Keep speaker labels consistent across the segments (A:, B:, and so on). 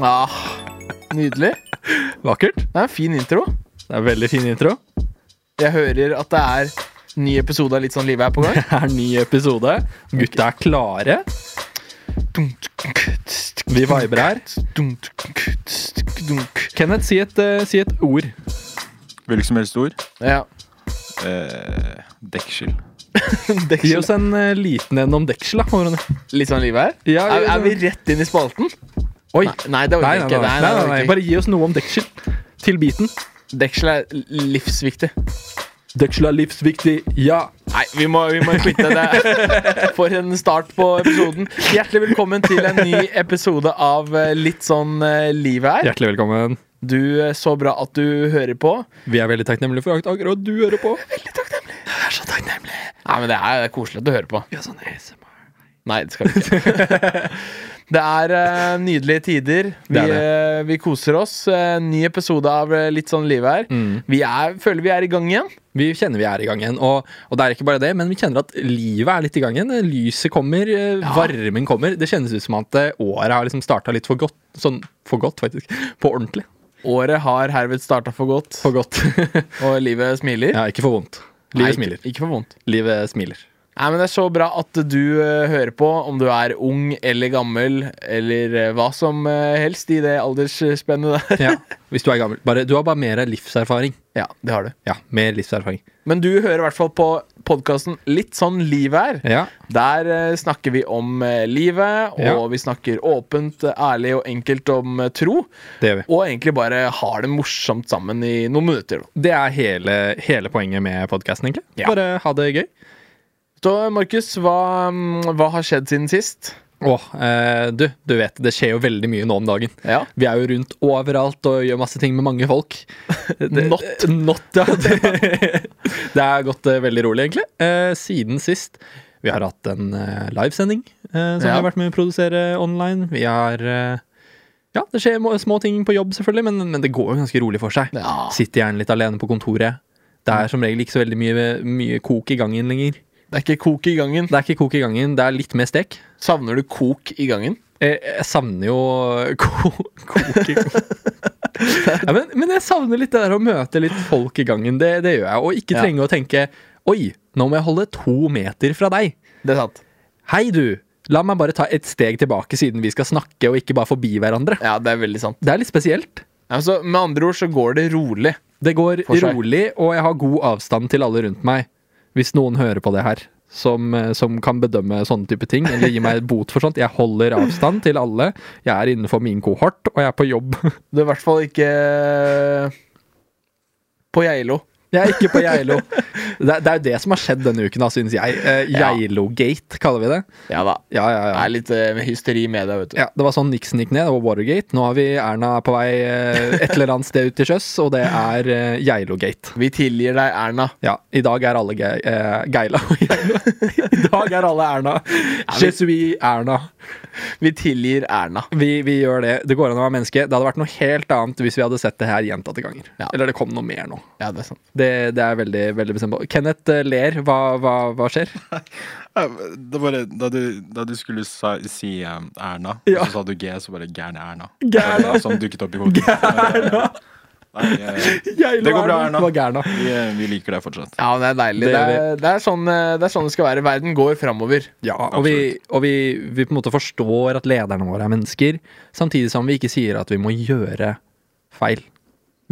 A: Ah, nydelig.
B: Vakkert.
A: Det er en fin intro.
B: Det er en veldig fin intro.
A: Jeg hører at det er ny episode av Litt sånn livet er på gang.
B: Det er en ny episode. Gutta er klare. Vi viber her. Kenneth, si et, eh, si et ord.
C: Hvilket som helst ord.
A: Ja.
C: Eh, deksel.
B: Gi
A: Deksel.
B: oss en eh, liten en om deksel, da. Ronny.
A: Litt sånn livet er.
B: Ja,
A: Er,
B: ja,
A: er vi rett inn i spalten?
B: Oi.
A: Nei, nei det orker
B: Nei,
A: jeg
B: nei,
A: ikke.
B: nei, nei, nei,
A: det orker
B: Bare gi oss noe om deksel. Til biten.
A: jeg ikke. Deksel er livsviktig.
B: Deksel er livsviktig. Ja.
A: Nei, vi må, vi må quitte det. For en start på episoden. Hjertelig velkommen til en ny episode av eh, Litt sånn eh, livet er.
B: Hjertelig velkommen.
A: Du, eh, så bra at du hører på.
B: Vi er veldig takknemlige for at akkurat du hører på.
A: Jeg er så takknemlig. Nei, men det er det er koselig at du hører på.
B: Ja, sånn ASMR.
A: Nei, det skal vi ikke. det er eh, nydelige tider. Vi,
B: Det er det.
A: eh, vi koser oss. Eh, ny episode av eh, Litt sånn livet er.
B: Mm.
A: Vi er, føler vi er i gang igjen.
B: Vi kjenner vi er i gang igjen. Og, og det er ikke bare det, men vi kjenner at livet er litt i gang igjen. Lyset kommer, eh, varmen kommer. Det kjennes ut som at eh, året har liksom starta litt for godt. Sånn for godt, faktisk. På ordentlig.
A: Året har herved starta for godt,
B: For godt.
A: og livet smiler.
B: ja, ikke for vondt. Livet
A: Nei,
B: smiler.
A: Ikke, ikke for vondt.
B: Livet smiler.
A: Nei, men Det er så bra at du eh, hører på, om du er ung eller gammel eller eh, hva som eh, helst i det aldersspennet der.
B: Ja, Hvis du er gammel. Bare, du har bare mer livserfaring.
A: Ja, det har du.
B: Ja, mer livserfaring.
A: Men du hører i hvert fall på podkasten Litt sånn livet er.
B: Ja.
A: Der eh, snakker vi om eh, livet, og
B: Ja.
A: vi snakker åpent, eh, ærlig og enkelt om eh, tro.
B: Det gjør vi.
A: Og egentlig bare har det morsomt sammen i noen minutter. Da.
B: Det er hele, hele poenget med podkasten, egentlig.
A: Ja.
B: Bare ha det gøy.
A: Så Markus, hva, mm, hva har skjedd siden sist?
B: Åh, eh, du, du vet, det skjer jo veldig mye nå om dagen.
A: Ja.
B: Vi er jo rundt overalt og gjør masse ting med mange folk.
A: Not.
B: Not, ja. Det, det er gått eh, veldig rolig, egentlig. Eh, siden sist. Vi har hatt en eh, livesending eh, som vi
A: Ja.
B: har vært med å produsere online. Vi har eh, Ja, det skjer må- små ting på jobb, selvfølgelig, men, men det går jo ganske rolig for seg.
A: Ja.
B: Sitter gjerne litt alene på kontoret. Det er som regel ikke så veldig mye, mye kok i gangen lenger.
A: Det er ikke kok i gangen.
B: Det er ikke kok i gangen, det er litt mer stek.
A: Savner du kok i gangen?
B: Jeg, jeg savner jo ko koking. ja, men, men jeg savner litt det der å møte litt folk i gangen. Det, det gjør jeg. Og ikke
A: Ja.
B: trenge å tenke Oi, nå må jeg holde to meter fra deg.
A: Det er sant.
B: Hei, du. La meg bare ta et steg tilbake, siden vi skal snakke og ikke bare forbi hverandre.
A: Ja, det er veldig sant.
B: Det er litt spesielt.
A: Altså, med andre ord så går det rolig.
B: Det går
A: For seg.
B: rolig, og jeg har god avstand til alle rundt meg. Hvis noen hører på det her, som, eh, som kan bedømme sånne type ting, eller gi meg bot for sånt. Jeg holder avstand til alle. Jeg er innenfor min kohort, og jeg er på jobb.
A: Du er i hvert fall ikke eh, på Geilo.
B: Jeg er ikke på Geilo. Det, er- det er jo det som har skjedd denne uken, da, synes jeg. Eh,
A: Ja.
B: Geilo-gate, kaller vi det.
A: Ja da.
B: Ja, ja,
A: Det
B: ja.
A: er litt eh, hysteri med deg, vet du.
B: ja det var sånn Nixon gikk ned, det var Watergate. Nå har vi Erna på vei eh, et eller annet sted ut til sjøs, og det er eh, Geilo-gate.
A: Vi tilgir deg, Erna.
B: Ja, i dag er alle ge eh, Geila og Geilo. I dag er alle Erna. Je suis Erna.
A: Vi tilgir Erna.
B: Vi, vi gjør det. Det går an å være menneske. Det hadde vært noe helt annet hvis vi hadde sett det her gjentatte ganger.
A: Ja.
B: Eller det kom noe mer nå.
A: Ja, det er sant.
B: Det, det er veldig, veldig bestemt på. Kenneth eh, ler. Hva, hva, hva skjer?
C: Ja, Det var det, da, du, da du skulle sa, si um, Erna,
B: Ja.
C: så sa du G, så bare gærne Erna.
B: Gærne.
C: Det var det Som dukket opp i hodet. Gærna! Nei, eh,
B: Geilo
C: Det går bra, Erna.
B: var Gærna.
C: vi, eh, vi liker deg fortsatt.
A: Ja, men det er deilig.
B: Det
A: Det
B: gjør
A: er, det er, sånn, eh, det er sånn det skal være. Verden går framover.
B: Ja, og vi, og vi, vi på en måte forstår at lederne våre er mennesker, samtidig som vi ikke sier at vi må gjøre feil.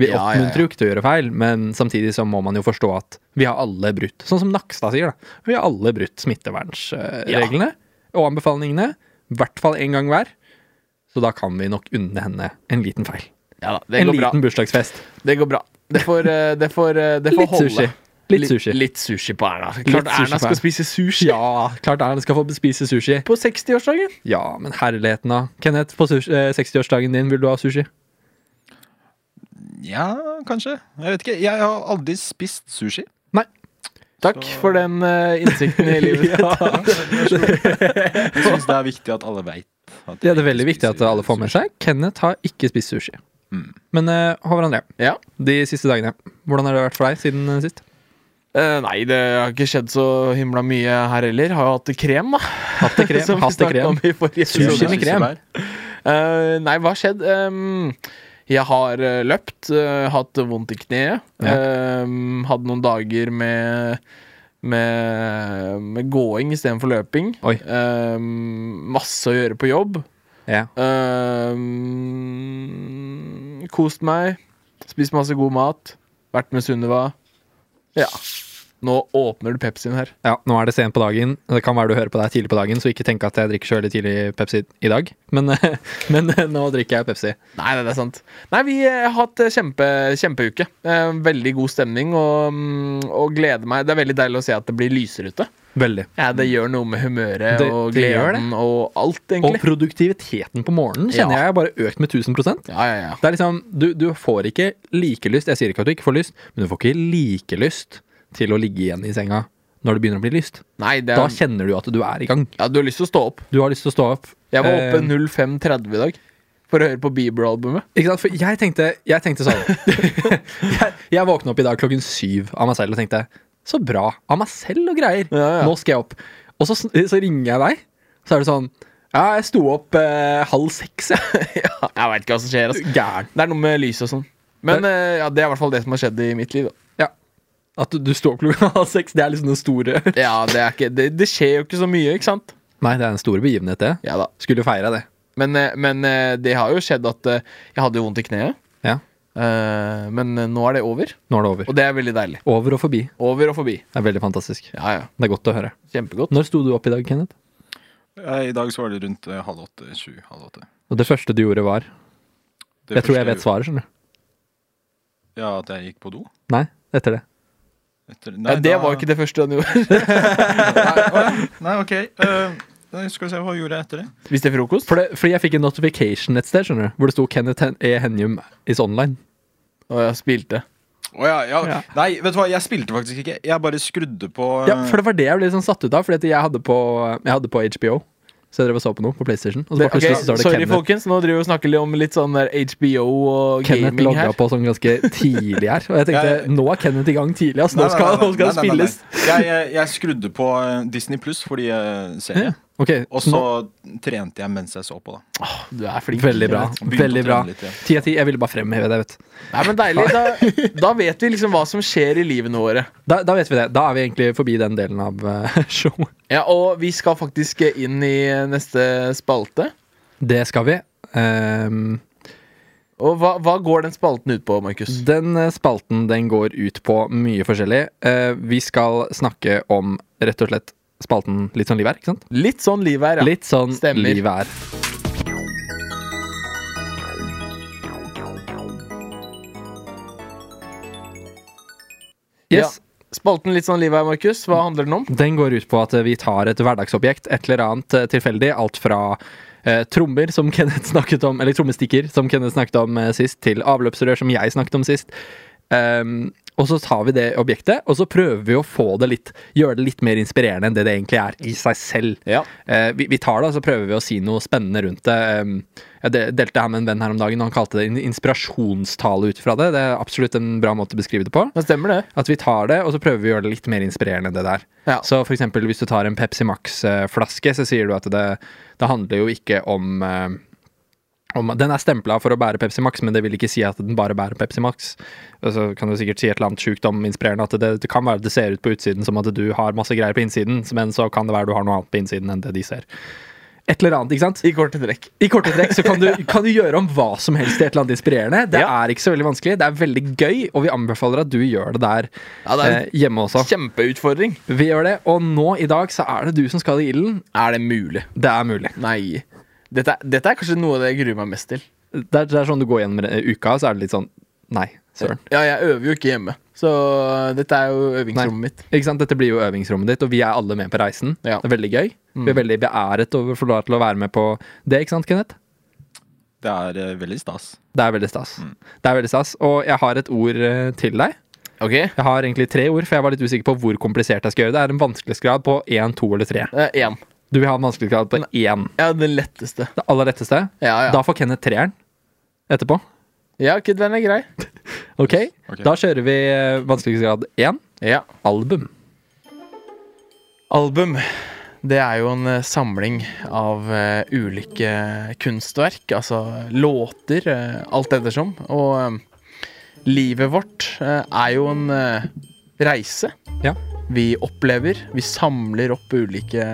B: Vi
A: Ja, ja,
B: oppmuntrer jo ikke til å gjøre feil, men samtidig så må man jo forstå at vi har alle brutt. Sånn som Nakstad sier, da. Vi har alle brutt smittevernreglene og anbefalingene. I hvert fall én gang hver. Så da kan vi nok unne henne en liten feil.
A: Ja da, det
B: en
A: går bra.
B: liten bursdagsfest.
A: Det går bra. Det får, eh, det får, eh, det får
B: Litt
A: holde.
B: sushi. Litt sushi.
A: Litt sushi på Erna. Klart
B: sushi
A: Erna
B: på Erna.
A: skal spise sushi
B: Ja, klart Erna skal få spise sushi.
A: på 60-årsdagen.
B: Ja, men herligheten da. Kenneth, på sushi- eh, 60-årsdagen din vil du ha sushi?
C: Ja, kanskje. Jeg vet ikke. Jeg har aldri spist sushi.
B: Nei.
A: Takk for den eh, innsikten i livet.
B: Ja.
C: Jeg syns det er viktig at alle veit. at
B: Det er
C: jeg
B: det veldig
C: ikke
B: viktig at
C: spiser
B: alle får med seg. Kenneth har ikke spist sushi.
A: Mm.
B: Men eh, Håvard André,
A: Ja.
B: de siste dagene, hvordan har det vært for deg siden eh, sist?
A: Eh, nei, det har ikke skjedd så himla mye her heller. Har jo hatt krem, da.
B: Hatt det krem,
A: Som vi
B: hatt det
A: snakket om
B: krem.
A: i forrige
B: Sushi
A: episode.
B: med krem.
C: Kirsebær.
A: Eh, nei, hva har skjedd? Ehm, jeg har eh, løpt, eh, hatt vondt i kneet.
B: Ja.
A: Ehm, hadde noen dager med med, med gåing istedenfor løping.
B: Oi.
A: Ehm, masse å gjøre på jobb.
B: Ja.
A: Ehm, kost meg. Spist masse god mat. Vært med Sunniva. Ja. Nå åpner du Pepsien her.
B: ja, nå er det sent på dagen. Det kan være du hører på deg tidlig på dagen, så ikke tenk at jeg drikker så veldig tidlig Pepsi i dag. Men, eh, men nå drikker jeg Pepsi.
A: Nei, nei, det er sant. Nei, vi eh, har hatt eh, kjempe, kjempeuke. Eh, Veldig god stemning og, mm, og gleder meg. Det er veldig deilig å se at det blir lysere ute.
B: Veldig.
A: Ja, Det gjør noe med humøret
B: Det-
A: og
B: det gjør
A: gleden og alt,
B: Og
A: egentlig.
B: produktiviteten på morgenen kjenner
A: Ja.
B: jeg er bare økt med 1000
A: Ja, ja, ja.
B: Det er liksom, du, du får ikke like lyst Jeg sier ikke at du ikke får lyst, men du får ikke like lyst til å ligge igjen i senga når det begynner å bli lyst.
A: Nei, det
B: Da
A: er,
B: kjenner du at du er i gang.
A: ja, du har lyst til å stå opp.
B: Du har lyst til å stå opp.
A: Jeg var oppe
B: Eh,
A: 05.30 i dag for å høre på Bieber-albumet.
B: Ikke sant? For jeg tenkte, jeg tenkte sånn jeg, jeg våkna opp i dag klokken syv av meg selv og tenkte Så bra. Av meg selv og greier.
A: Ja, ja.
B: Nå skal jeg opp. Og så, sn- så ringer jeg deg, så er det sånn Ja, jeg sto opp eh, halv seks, jeg.
A: Ja, jeg veit ikke hva som skjer. Altså.
B: Gæren.
A: Det er noe med lyset og sånn. Men eh, ja, det er i hvert fall det som har skjedd i mitt liv. Da.
B: Ja. At du, du står opp klokka halv seks, det er liksom den store
A: Ja, det, er ikke, det, det skjer jo ikke så mye, ikke sant?
B: Nei, det er en stor begivenhet, det.
A: Ja da.
B: Skulle feira det.
A: Men, eh, men eh, det har jo skjedd at eh, jeg hadde jo vondt i kneet.
B: Ja.
A: Eh, men eh, nå er det over,
B: Nå er det over.
A: og det er veldig deilig.
B: Over og forbi.
A: Over og forbi.
B: Det er veldig fantastisk.
A: Ja, ja.
B: Det er godt å høre.
A: Kjempegodt.
B: Når sto du opp i dag, Kenneth?
C: Eh, I dag så var det rundt eh, halv åtte. Sju. Halv åtte.
B: Og det første du gjorde, var
C: Det
B: Jeg tror jeg
C: første-
B: vet svaret, skjønner du.
C: Ja, at jeg gikk på do.
B: Nei, etter det.
C: Etter,
A: Ja, det var jo ikke det første han gjorde.
C: Nei, OK. eh, nei, skal vi se, hva gjorde jeg etter det?
A: Spiste frokost.
B: For det, Fordi jeg fikk en notification et sted, skjønner du, hvor det sto 'Kenneth Hen- E. Henjum is online'.
A: Og jeg spilte.
C: Å ja, ja.
B: Ja.
C: Nei, vet du hva, jeg spilte faktisk ikke. Jeg bare skrudde på eh,
B: Ja, For det var det jeg ble liksom satt ut av, fordi at jeg hadde på, jeg hadde på HBO. Så jeg drev og så på noe på PlayStation. Og så bare
A: Ok,
B: plutselig så står det
A: sorry,
B: Kenneth.
A: folkens. Nå driver vi og snakker litt om litt sånn der HBO og
B: Kenneth
A: gaming
B: logga
A: her.
B: på sånn ganske tidlig her. Og jeg tenkte,
C: Jeg-
B: nå er Kenneth i gang tidlig, ass. Nå
C: Nei, nei,
B: skal,
C: nei, nei,
B: nå skal
C: nei,
B: det
C: nei, nei, nei.
B: spilles.
C: Jeg, jeg, jeg skrudde på eh, Disney Pluss fordi jeg ser det.
B: Ok,
C: Og så trente jeg mens jeg så på, da.
A: Du er flink.
B: Veldig bra.
C: Begynte å
B: Veldig
C: trene
B: bra.
C: litt igjen.
B: Ti av ti. Jeg ville bare fremheve det. vet du.
A: Nei, men deilig. Da, da vet vi liksom hva som skjer i livene våre.
B: Da, da vet vi det. Da er vi egentlig forbi den delen av eh, showet.
A: Ja, Og vi skal faktisk inn i neste spalte.
B: Det skal vi. Ehm,
A: Og hva, hva går den spalten ut på, Markus?
B: den eh, spalten den går ut på mye forskjellig. Eh, vi skal snakke om rett og slett spalten Litt sånn livet er, ikke sant?
A: Litt sånn livet er, ja.
B: Litt sånn
A: Stemmer.
B: livet er. Yes.
A: Ja. Spalten Litt sånn livet er, Markus. Hva handler den om?
B: Den går ut på at vi tar et hverdagsobjekt, et eller annet eh, tilfeldig. Alt fra eh, trommer, som Kenneth snakket om, eller trommestikker, som Kenneth snakket om eh, sist, til avløpsrør, som jeg snakket om sist. Ehm, og så tar vi det objektet, og så prøver vi å få det litt, gjøre det litt mer inspirerende enn det det egentlig er i seg selv.
A: Ja.
B: Eh, vi, vi tar det, og så prøver vi å si noe spennende rundt det. Ehm, jeg de- delte det her med en venn her om dagen, og han kalte det en inspirasjonstale ut fra det. Det er absolutt en bra måte å beskrive det på.
A: Det stemmer, det.
B: At vi tar det, og så prøver vi å gjøre det litt mer inspirerende enn det der.
A: Ja.
B: Så for eksempel hvis du tar en Pepsi Max-flaske, så sier du at det, det handler jo ikke om, eh, om Den er stempla for å bære Pepsi Max, men det vil ikke si at den bare bærer Pepsi Max. Og så kan du sikkert si et eller annet sjukt om inspirerende, at det, det kan være at det ser ut på utsiden som at du har masse greier på innsiden, men så kan det være du har noe annet på innsiden enn det de ser. Et eller annet, ikke sant?
A: I korte trekk.
B: I korte trekk så kan du, kan du gjøre om hva som helst til et eller annet inspirerende. Det
A: Ja.
B: er ikke så veldig vanskelig. Det er veldig gøy, og vi anbefaler at du gjør det der
A: Ja, det er en
B: eh, hjemme også.
A: Kjempeutfordring.
B: Vi gjør det, og nå i dag så er det du som skal i ilden.
A: Er det mulig?
B: Det er mulig.
A: Nei. Dette, er- dette er kanskje noe av det jeg gruer meg mest til.
B: Det er, det er sånn du går gjennom eh, uka, så er det litt sånn Nei, søren.
A: Ja, jeg øver jo ikke hjemme, så dette er jo
B: Nei.
A: øvingsrommet mitt.
B: Ikke sant? Dette blir jo øvingsrommet ditt, og vi er alle med på reisen.
A: Ja.
B: Det er veldig gøy. Vi
A: Mm.
B: er veldig beæret over å få lov til å være med på det, ikke sant, Kenneth?
C: Det er eh, veldig stas.
B: Det er veldig stas.
A: Mm.
B: Det er veldig stas. Og jeg har et ord eh, til deg.
A: Ok? Eh,
B: Jeg har egentlig tre ord, for jeg var litt usikker på hvor komplisert jeg skal gjøre det. Det er en vanskelighetsgrad på én, to eller tre.
A: Én.
B: Du vil ha en vanskelighetsgrad på én.
A: Eh, Ja, den letteste.
B: Det aller letteste.
A: Ja, ja.
B: Da får Kenneth treeren etterpå.
A: Ja, ok, den er grei.
B: Ok?
C: Ok.
B: Da kjører vi eh, vanskelighetsgrad én,
A: Ja.
B: album.
A: Album. Det er jo en eh, samling av eh, ulike kunstverk, altså låter, eh, alt ettersom. Og eh, livet vårt eh, er jo en eh, reise.
B: Ja.
A: Vi opplever, vi samler opp ulike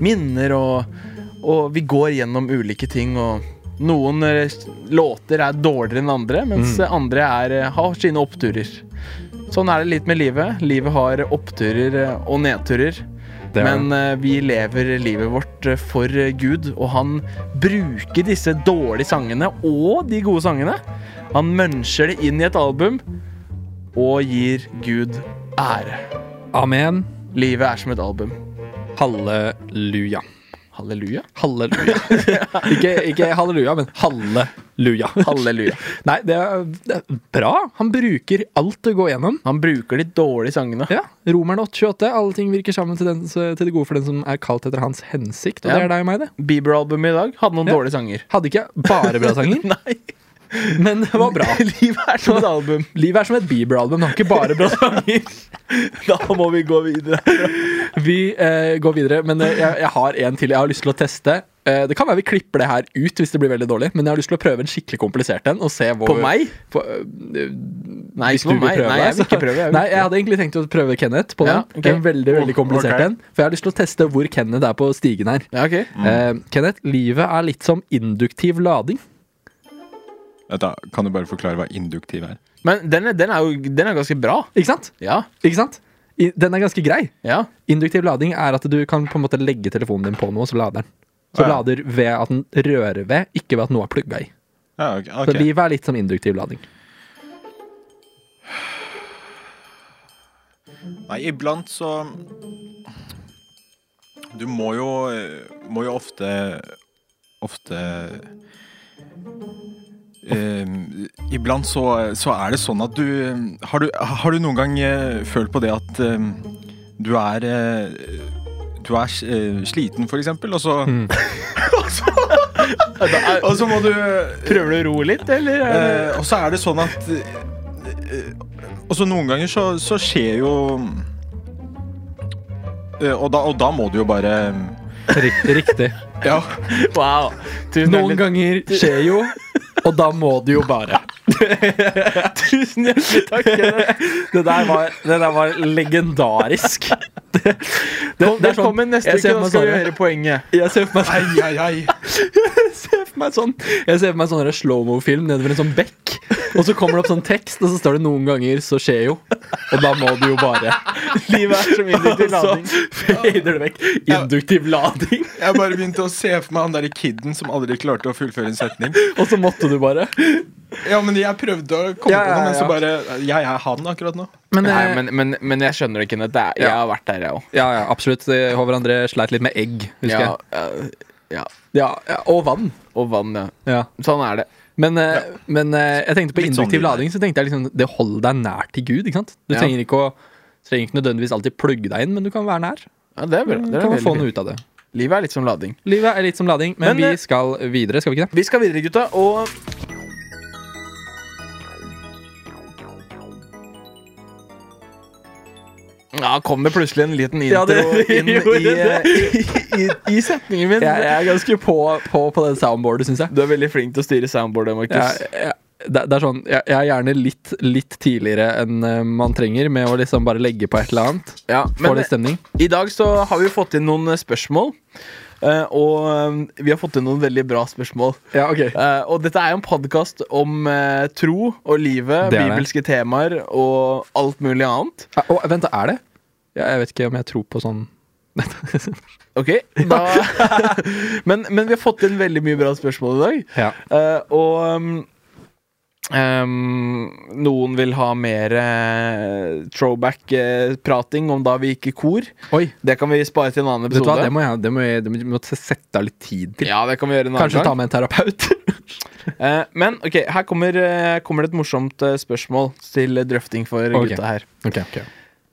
A: minner, og, og vi går gjennom ulike ting. og noen eh, låter er dårligere enn andre, mens eh, andre er, eh, har sine oppturer. Sånn er det litt med livet. Livet har oppturer eh, og nedturer.
B: Det er
A: Men eh, vi lever livet vårt eh, for eh, Gud, og han bruker disse dårlige sangene og de gode sangene. Han mønsker det inn i et album og gir Gud ære.
B: Amen.
A: Livet er som et album.
B: Halleluja.
A: Halleluja.
B: Halleluja. ikke, ikke halleluja, men halleluja.
A: Halleluja.
B: Nei, det er, det er bra. Han bruker alt det går gjennom.
A: Han bruker de dårlige sangene.
B: Ja, Romerne 828. Alle ting virker sammen til, den, til det gode for den som er kalt etter hans hensikt. Og
A: Ja.
B: det er deg og meg, det.
A: Bieber-albumet i dag hadde noen
B: Ja.
A: dårlige sanger.
B: Hadde ikke bare bra sanger,
A: Nei,
B: men det var bra.
A: livet er som et album.
B: Livet er som et Bieber-album. Det har ikke bare bra sanger.
A: Da må vi gå videre.
B: Vi eh, går videre, men eh, jeg, jeg har en til jeg har lyst til å teste. Eh, det kan være vi klipper det her ut hvis det blir veldig dårlig, men jeg har lyst til å prøve en skikkelig komplisert en. Og se hvor,
A: På meg?
B: På, eh,
A: Nei,
B: hvis
A: ikke på
B: du vil
A: meg.
B: prøve
A: Nei, jeg
B: deg,
A: vil ikke
B: så-
A: prøve. Jeg vil
B: Nei,
A: ikke
B: jeg hadde egentlig tenkt å prøve Kenneth på
A: Ja,
B: den.
A: ok.
B: En veldig, veldig komplisert
C: ok.
B: en. For jeg har lyst til å teste hvor Kenneth er på stigen her.
A: prøve. Ja, ok.
B: Eh, Kenneth, livet er litt som induktiv lading.
C: Vent da, Kan du bare forklare hva induktiv er?
A: Men den er, den er jo den er ganske bra.
B: Ikke sant?
A: Ja.
B: Ikke sant? I, den er ganske grei.
A: ja.
B: Induktiv lading er at du kan på en måte legge telefonen din på noe, så lader den. Så
C: Ah, ja.
B: lader ved at den rører ved, ikke ved at noe er plugga i.
C: Ja, ok,
B: Så
C: ok.
B: livet er litt som induktiv lading.
C: Nei, iblant så Du må jo, må jo ofte Ofte Ehm, Iblant så, så er det sånn at du Har du, har du noen gang eh, følt på det at ehm, du er eh, du er eh, sliten, for eksempel, og så, og så må du
A: Prøver du å roe litt, eller? er det-
C: Eh, og så er det sånn at eh, Og så noen ganger så, så skjer jo eh, og, da, og da må du jo bare
B: Riktig. riktig.
C: Ja.
A: Wow. Tusen
B: Noen
A: hjertelig,
B: ganger skjer jo, og da må du jo bare.
A: tusen hjertelig takk. Kenneth.
B: Det der var, det der var legendarisk. Det, det,
A: Kom,
B: det er sånn-
A: velkommen neste
B: jeg
A: uke,
B: ser for
A: nå
B: meg
A: skal vi
B: sånne-
A: høre poenget.
B: Jeg ser for meg
C: Ai, ai, ai.
B: ser for meg sånn Jeg ser for meg sånn der slow-mo-film nedover en sånn bekk. Og så kommer det opp sånn tekst, og så står det 'noen ganger så skjer jo'. Og da må du jo bare.
A: Livet er som induktiv
B: Og
A: lading.
B: så fader Altså, det vekk. Induktiv lading.
C: Jeg bare begynte å se for meg han derre kiden som aldri klarte å fullføre en setning.
B: Og så måtte du bare.
C: Ja, men jeg prøvde å komme
B: Ja,
C: på noe, men
B: ja,
C: så
B: ja.
C: bare Jeg er han akkurat nå.
B: Men, eh,
A: Nei, men, men, men jeg skjønner det, Kenneth. Det er, jeg
B: Ja.
A: har vært der, jeg òg.
B: ja, ja, absolutt. Eh, Håvard André sleit litt med egg, husker
A: Ja,
B: jeg.
A: eh, ja.
B: Ja, ja, og vann.
A: Og vann, ja.
B: Ja.
A: Sånn er det.
B: Men, eh, men eh, jeg tenkte på
C: Litt sånn
B: induktiv
C: liv.
B: lading, så tenkte jeg liksom det holder deg nær til Gud. ikke sant? Du
A: Ja.
B: trenger ikke å trenger ikke nødvendigvis alltid plugge deg inn, men du kan være nær.
A: Ja, det er bra.
B: Du
A: Det er
B: Mm, kan få
A: veldig
B: noe
A: fint.
B: ut av det.
A: Livet er litt som lading.
B: Livet er litt som lading, men,
A: Men, eh,
B: vi skal videre, skal vi ikke det?
A: Vi skal videre, gutta, og Ja, kom det plutselig en liten intro
B: Ja, det- det
A: inn i,
B: gjorde det.
A: i, i, i setningen min.
B: Jeg, jeg er ganske på, på, på det soundboardet, syns jeg.
A: Du er veldig flink til å styre soundboardet, Markus.
B: Jeg, jeg, det, det er sånn, jeg, jeg er gjerne litt, litt tidligere enn eh, man trenger med å liksom bare legge på et eller annet.
A: Ja,
B: Får
A: men eh,
B: litt stemning.
A: i dag så har vi fått inn noen eh, spørsmål. eh, Og eh, vi har fått inn noen veldig bra spørsmål.
B: Ja, ok.
A: Eh, og dette er jo en podkast om eh, tro og livet,
B: Det er det.
A: bibelske temaer og alt mulig annet.
B: Å, vent, er det? Ja, jeg vet ikke om jeg tror på sånn
A: Ok, da men, men vi har fått inn veldig mye bra spørsmål i dag.
B: Ja.
A: Eh, og um, um, noen vil ha mer eh, throwback-prating om da vi gikk i kor.
B: Oi,
A: Det kan vi spare til en annen
B: vet du
A: episode.
B: hva, det må jeg, det må jeg, det må jeg må sette av litt tid til.
A: ja, det kan vi gjøre en annen
B: Kanskje ta
A: gang.
B: med en terapeut.
A: Eh, men ok, her kommer, eh, kommer det et morsomt eh, spørsmål til drøfting for
B: Ok.
A: gutta her.
B: ok, ok.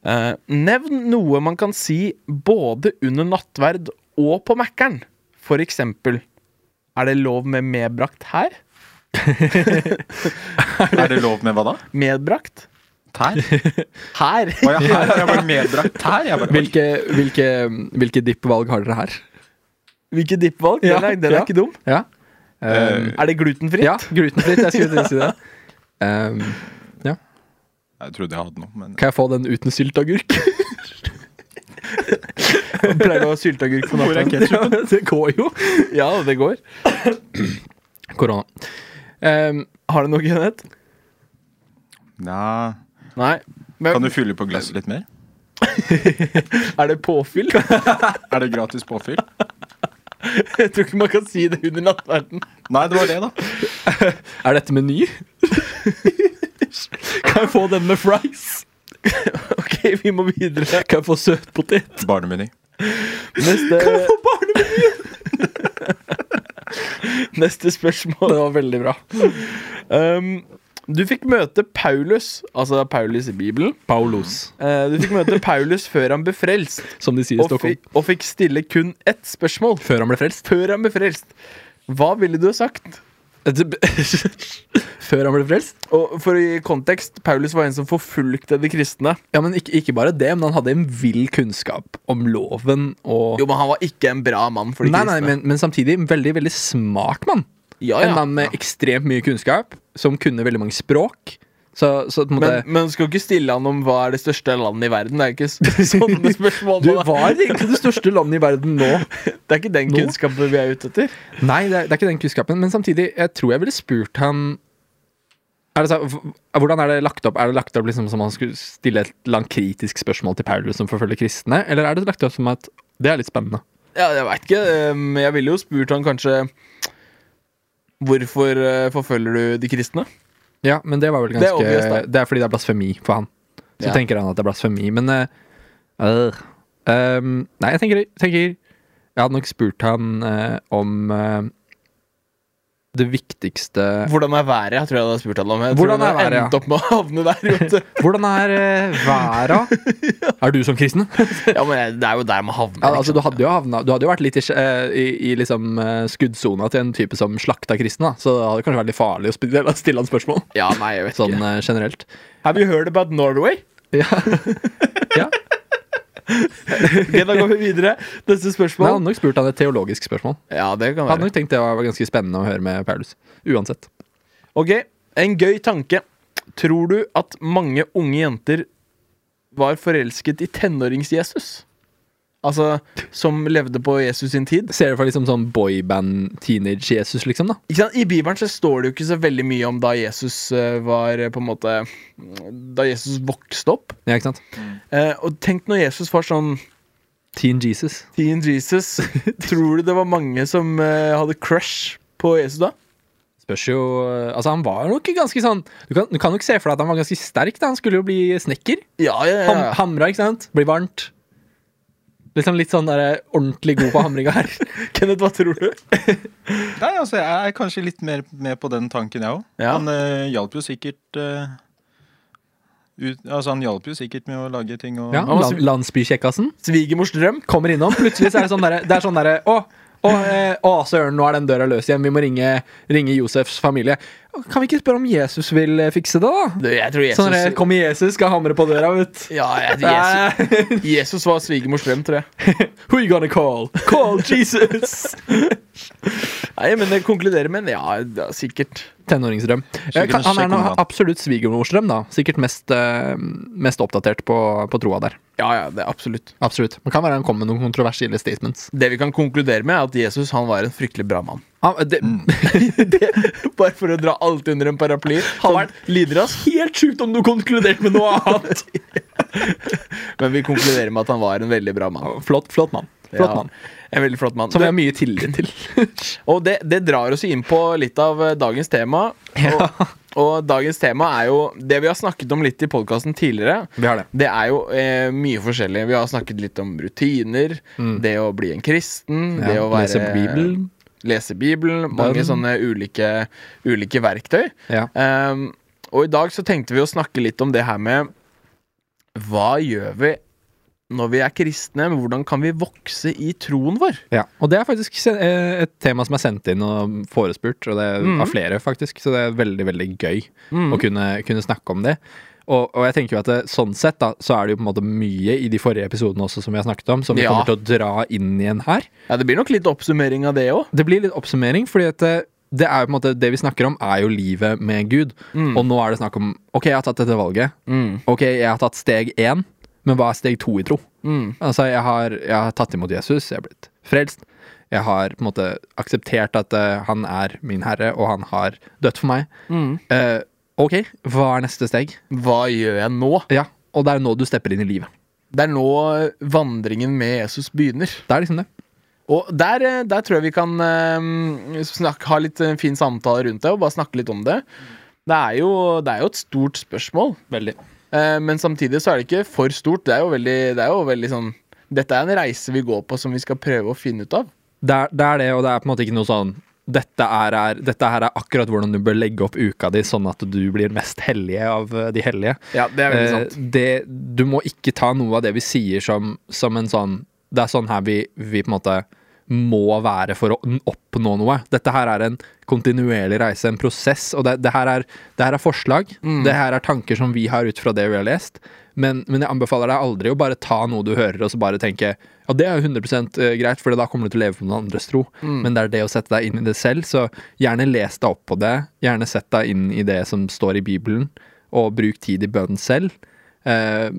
A: Eh, nevn noe man kan si både under nattverd og på Mækkern. For eksempel Er det lov med medbrakt her?
C: Er det lov med hva da?
A: Medbrakt?
C: Tær?
A: Her!
C: Å ja, her har jeg bare medbrakt tær. Jeg bare, oi.
B: Hvilke, hvilke, hvilke dippvalg har dere her?
A: Hvilke dippvalg?
B: Ja,
A: den er, den er
B: ja.
A: ikke dum.
B: Ja. Um,
A: Er det glutenfritt?
B: ja, glutenfritt. Jeg skulle til å si det. Um,
C: Jeg trodde jeg hadde noe, men
B: kan jeg få den uten sylteagurk?
A: Pleier du å ha sylteagurk på natta?
B: det går jo.
A: Ja, det går.
B: Korona. Um,
A: Har du noe, Kenneth?
C: Nei.
A: Nei.
C: Kan
A: Men
C: du fylle på glasset litt mer?
A: er det påfyll?
C: Er det gratis påfyll?
A: Jeg tror ikke man kan si det under nattverden.
C: Nei, det var det, da.
B: er dette meny? kan jeg få den med fries?
A: Ok, vi må videre.
B: Kan jeg få søtpotet?
C: Barnemeny.
A: Neste, neste spørsmål.
B: Det var veldig bra.
A: Um, du fikk møte Paulus, altså Paulus i Bibelen.
B: Paulos,
A: Eh, du fikk møte Paulus før han ble frelst,
B: som de sier i
A: og,
B: Stockholm.
A: fikk- og fikk stille kun ett spørsmål
B: Før han ble frelst.
A: før han ble frelst. Hva ville du ha sagt?
B: Før han ble frelst?
A: Og for å gi kontekst, Paulus var en som forfulgte de kristne.
B: Ja, men ikke, ikke bare det, men han hadde en vill kunnskap om loven og
A: Jo, men han var ikke en bra mann for de
B: Nei, nei,
A: kristne.
B: men, men samtidig en veldig, veldig smart mann.
A: ja,
B: En
A: ja.
B: mann med ekstremt mye kunnskap, som kunne veldig mange språk. Så, så på en måte
A: Men, men du skal ikke stille han om hva er det største landet i verden. Det er ikke s- sånne spørsmål.
B: Du
A: man-
B: var egentlig det største landet i verden nå.
A: det er ikke den
B: Nå?
A: kunnskapen vi er ute etter.
B: Nei, det er, det er ikke den kunnskapen, men samtidig, jeg tror jeg ville spurt han er det så, h- Hvordan er det lagt opp? Er det lagt opp liksom som om han skulle stille et langt kritisk spørsmål til Paulus som forfølger kristne, eller er det lagt opp som at det er litt spennende?
A: Ja, jeg vet ikke. ehm, Jeg ville jo spurt han kanskje Hvorfor eh, forfølger du de kristne?
B: Ja, men det var vel
A: Det
B: ganske
A: er
B: Det
A: obvious, da.
B: er, fordi det er blasfemi for han. Så
A: Ja.
B: tenker han at det er blasfemi, men eh, øh. Ehm, Nei, jeg tenker, tenker Jeg hadde nok spurt han eh, om eh, det viktigste
A: Hvordan er været? Jeg tror jeg hadde spurt han om Jeg tror
B: Hvordan
A: han
B: er
A: hadde
B: været, ja?
A: endt opp med å havne der. vet du.
B: Hvordan er uh, væra? Er du som kristen?
A: Ja, men jeg- Det er jo der man havner.
B: Ja, altså,
A: liksom.
B: du, hadde jo havna, du hadde jo vært litt i, sj- eh, i, i liksom, eh, skuddsona til en type som slakta kristne, da. så det hadde kanskje vært litt farlig å sp- stille han spørsmål.
A: ja, nei, jeg vet
B: Sånn
A: ikke.
B: eh, generelt.
A: Have you heard about Norway?
B: Ja. ja.
A: Ok, da går vi videre. Neste
B: Men jeg
A: spørsmål.
B: hadde nok spurt han et teologisk spørsmål.
A: Ja, det kan
B: Jeg hadde
A: være.
B: nok tenkt det var ganske spennende å høre med Paulus. Uansett.
A: Ok, en gøy tanke. Tror du at mange unge jenter var forelsket i tenårings-Jesus? Altså, som levde på Jesus sin tid?
B: Ser du for liksom sånn boyband-teenage-Jesus, liksom, da?
A: Ikke sant? I Bibelen så står det jo ikke så veldig mye om da Jesus eh, var eh, på en måte Da Jesus vokste opp.
B: Ja, ikke sant?
A: Eh, og tenk når Jesus var sånn
B: Teen Jesus.
A: teen Jesus. Tror du det var mange som eh, hadde crush på Jesus da?
B: Spørs jo eh, Altså, han var nok ganske sånn Du kan, du kan nok se for deg at han var ganske sterk, da. Han skulle jo bli snekker.
A: Ja, ja, ja.
B: Ham, hamra, ikke sant? Blir varmt. Liksom litt sånn der, ordentlig god på hamringa her.
A: Kenneth, hva tror du?
C: Nei, altså, Jeg er kanskje litt mer med på den tanken, jeg òg.
A: Ja.
C: Han eh, hjalp jo sikkert eh, ut, Altså, han hjalp jo sikkert med å lage ting og
B: Ja,
A: men
B: land, Landsbykjekkasen
A: Svigermors drøm?
B: kommer innom. Plutselig så er det sånn derre Det er sånn derre Å, å, eh, å, søren, nå er den døra løs igjen. Vi må ringe, ringe Josefs familie. Kan vi ikke spørre om Jesus vil eh, fikse det, da?
A: Du, jeg tror Jesus
B: Sånn derre Kom, Jesus skal hamre på døra, vet du.
A: Ja, jeg, Jesus, Jesus var svigermors drøm, tror jeg.
B: Who you gonna call? Call Jesus!
A: Nei, men jeg konkluderer med en ja, ja, sikkert.
B: Tenåringsdrøm. Eh, kan- Han er nå absolutt svigermorsdrøm, da. Sikkert mest, eh, mest oppdatert på, på troa der.
A: Ja, ja, det er absolutt.
B: Absolutt. Man kan være han kom med noen kontroversielle statements.
A: Det vi kan konkludere med, er at Jesus han var en fryktelig bra mann.
B: Han, eh, det,
A: det, bare for å dra alt under en paraply.
B: Har
A: Sånn, lider oss.
B: Helt sjukt om du konkluderte med noe annet!
A: Men vi konkluderer med at han var en veldig bra mann.
B: flott flott mann. Flott
A: Ja,
B: mann.
A: En veldig flott mann.
B: Som vi har
A: Det,
B: mye tillit til.
A: og det, det drar oss inn på litt av eh, dagens tema.
B: Ja.
A: Og, og dagens tema er jo det vi har snakket om litt i podkasten tidligere.
B: Vi har det.
A: Det er jo eh, mye forskjellig. Vi har snakket litt om rutiner, det å bli en kristen, det å være
B: lese Bibelen.
A: lese Bibelen, mange
B: Bønn.
A: sånne ulike, ulike verktøy.
B: Ja.
A: Ehm, og i dag så tenkte vi å snakke litt om det her med Hva gjør vi når vi er kristne, men hvordan kan vi vokse i troen vår?
B: Ja, og det er faktisk se- eh, et tema som er sendt inn og forespurt, og det er
A: Mhm.
B: av flere, faktisk. Så det er veldig, veldig gøy å
A: Mm.
B: kunne, kunne snakke om det. Og, og jeg tenker jo at det, sånn sett da, så er det jo på en måte mye i de forrige episodene også som vi har snakket om, som vi
A: Ja.
B: kommer til å dra inn igjen her.
A: Ja, det blir nok litt oppsummering av det òg.
B: Det blir litt oppsummering, fordi at det, det er jo på en måte det vi snakker om, er jo livet med Gud.
A: Mm.
B: Og nå er det snakk om OK, jeg har tatt dette valget.
A: Mm.
B: OK, jeg har tatt steg én, men hva er steg to i tro?
A: Mm.
B: Altså, jeg har, jeg har tatt imot Jesus, jeg har blitt frelst. Jeg har på en måte akseptert at eh, han er min herre, og han har dødd for meg.
A: Mm.
B: Eh, ok, hva er neste steg?
A: Hva gjør jeg nå?
B: Ja, og det er nå du stepper inn i livet.
A: Det er nå vandringen med Jesus begynner.
B: Det er liksom det.
A: Og der, eh, der tror jeg vi kan eh, snakke, ha litt eh, fin samtale rundt det, og bare snakke litt om det. Det er jo, det er jo et stort spørsmål,
B: Veldig.
A: eh, men samtidig så er det ikke for stort. Det er jo veldig, det er jo veldig sånn Dette er en reise vi går på som vi skal prøve å finne ut av.
B: Det er, det er det, og det er på en måte ikke noe sånn dette, er, er, dette her er akkurat hvordan du bør legge opp uka di, sånn at du blir mest hellige av eh, de hellige.
A: Ja, det er veldig
B: Eh,
A: sant.
B: det, du må ikke ta noe av det vi sier som, som en sånn Det er sånn her vi, vi på en måte må være for å n- oppnå noe. Dette her er en kontinuerlig reise, en prosess. Og det, det, her, er, det her er forslag. Det her er tanker som vi har ut fra det vi har lest. Men, men jeg anbefaler deg aldri å bare ta noe du hører og så bare tenke ja, det er jo 100 greit, for da kommer du til å leve på noen andres tro. Men det er det å sette deg inn i det selv. Så gjerne les deg opp på det. Gjerne sett deg inn i det som står i Bibelen, og bruk tid i bønnen selv. Eh,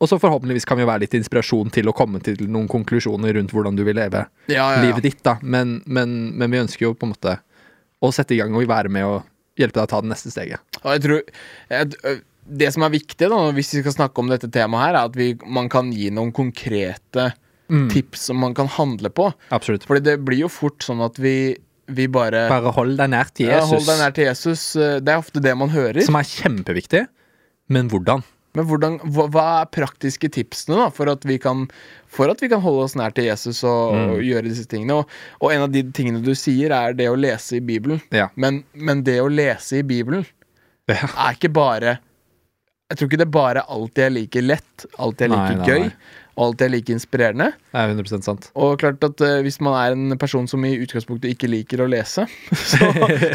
B: og så forhåpentligvis kan vi være litt inspirasjon til å komme til noen konklusjoner rundt hvordan du vil leve
A: Ja, ja, ja.
B: livet ditt, da. Men, men, men vi ønsker jo på en måte å sette i gang og være med og hjelpe deg å ta det neste steget.
A: Og jeg tror jeg, ø, Det som er viktig da, hvis vi skal snakke om dette temaet, her er at vi, man kan gi noen konkrete
B: Mm.
A: tips som man kan handle på.
B: Absolutt.
A: Fordi det blir jo fort sånn at vi, vi bare,
B: Bare hold deg nær til
A: ja, Hold
B: Jesus,
A: deg nær til Jesus. ø, Det er ofte det man hører.
B: som er kjempeviktig. Men hvordan?
A: Men hvordan, hva, hva er praktiske tipsene da, for, at vi kan, for at vi kan holde oss nær til Jesus og,
B: Mm.
A: og gjøre disse tingene? Og, og en av de tingene du sier, er det å lese i Bibelen.
B: Ja.
A: Men, men det å lese i Bibelen
B: Ja.
A: er ikke bare Jeg tror ikke det er bare alt jeg liker lett, alt jeg
B: Nei,
A: liker
B: nei, nei.
A: gøy, og alt jeg liker inspirerende.
B: Det er 100 sant.
A: Og klart at eh, hvis man er en person som i utgangspunktet ikke liker å lese, så,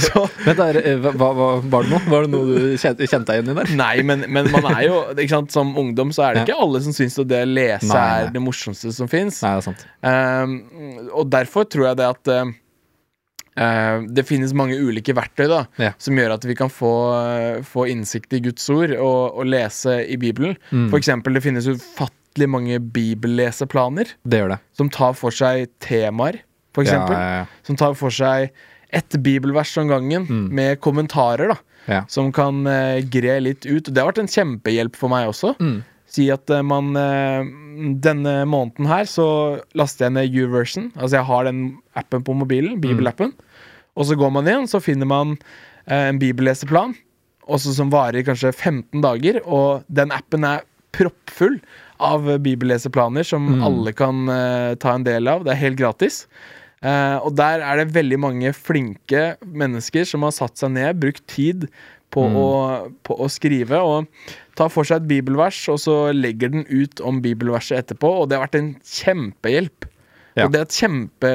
A: så
B: Vent, da, eh, hva, hva, hva- var det noe? Var det noe du kjente, kjente deg igjen i der?
A: Nei, men, men man er jo ikke sant, Som ungdom så er det
B: Ja.
A: ikke alle som syns at det å lese
B: Nei, nei.
A: er det morsomste som fins.
B: Nei, det er sant.
A: Ehm, og derfor tror jeg det at eh, eh, det finnes mange ulike verktøy da
B: Ja.
A: som gjør at vi kan få, eh, få innsikt i Guds ord og, og lese i Bibelen.
B: Mm.
A: For eksempel, det finnes ufattelig mange bibelleseplaner
B: Det gjør det.
A: som tar for seg temaer, for eksempel.
B: Ja, ja, ja.
A: Som tar for seg ett bibelvers om gangen,
B: Mm.
A: med kommentarer, da.
B: Ja.
A: Som kan eh, gre litt ut. Det har vært en kjempehjelp for meg også.
B: Mm.
A: Si at eh, man eh, Denne måneden her så laster jeg ned U-version. Altså jeg har den appen på mobilen, bibelappen.
B: Mm.
A: Og så går man inn, så finner man eh, en bibelleseplan. Også som varer kanskje 15 dager. Og den appen er proppfull av eh, bibelleseplaner som alle kan eh, ta en del av. Det er helt gratis. Eh, og der er det veldig mange flinke mennesker som har satt seg ned, brukt tid på, å, på å skrive. Og tar for seg et bibelvers, og så legger den ut om bibelverset etterpå. Og det har vært en kjempehjelp.
B: Ja.
A: Og det er et kjempe,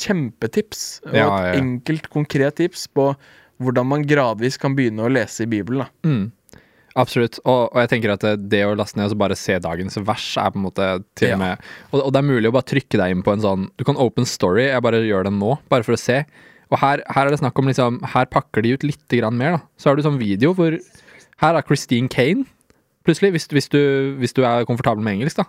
A: kjempetips, og et
B: Ja, ja, ja.
A: enkelt, konkret tips på hvordan man gradvis kan begynne å lese i Bibelen. Da.
B: Mm. Absolutt. Og, og jeg tenker at det- det å laste ned og så bare se dagens vers er på en måte til
A: Ja.
B: og med og, og det er mulig å bare trykke deg inn på en sånn Du kan open story, jeg bare gjør den nå, bare for å se. Og her, her er det snakk om liksom Her pakker de ut litt grann mer, da. Så har du sånn video hvor Her er Christine Kane. Plutselig, hvis, hvis, du, hvis du er komfortabel med engelsk, da,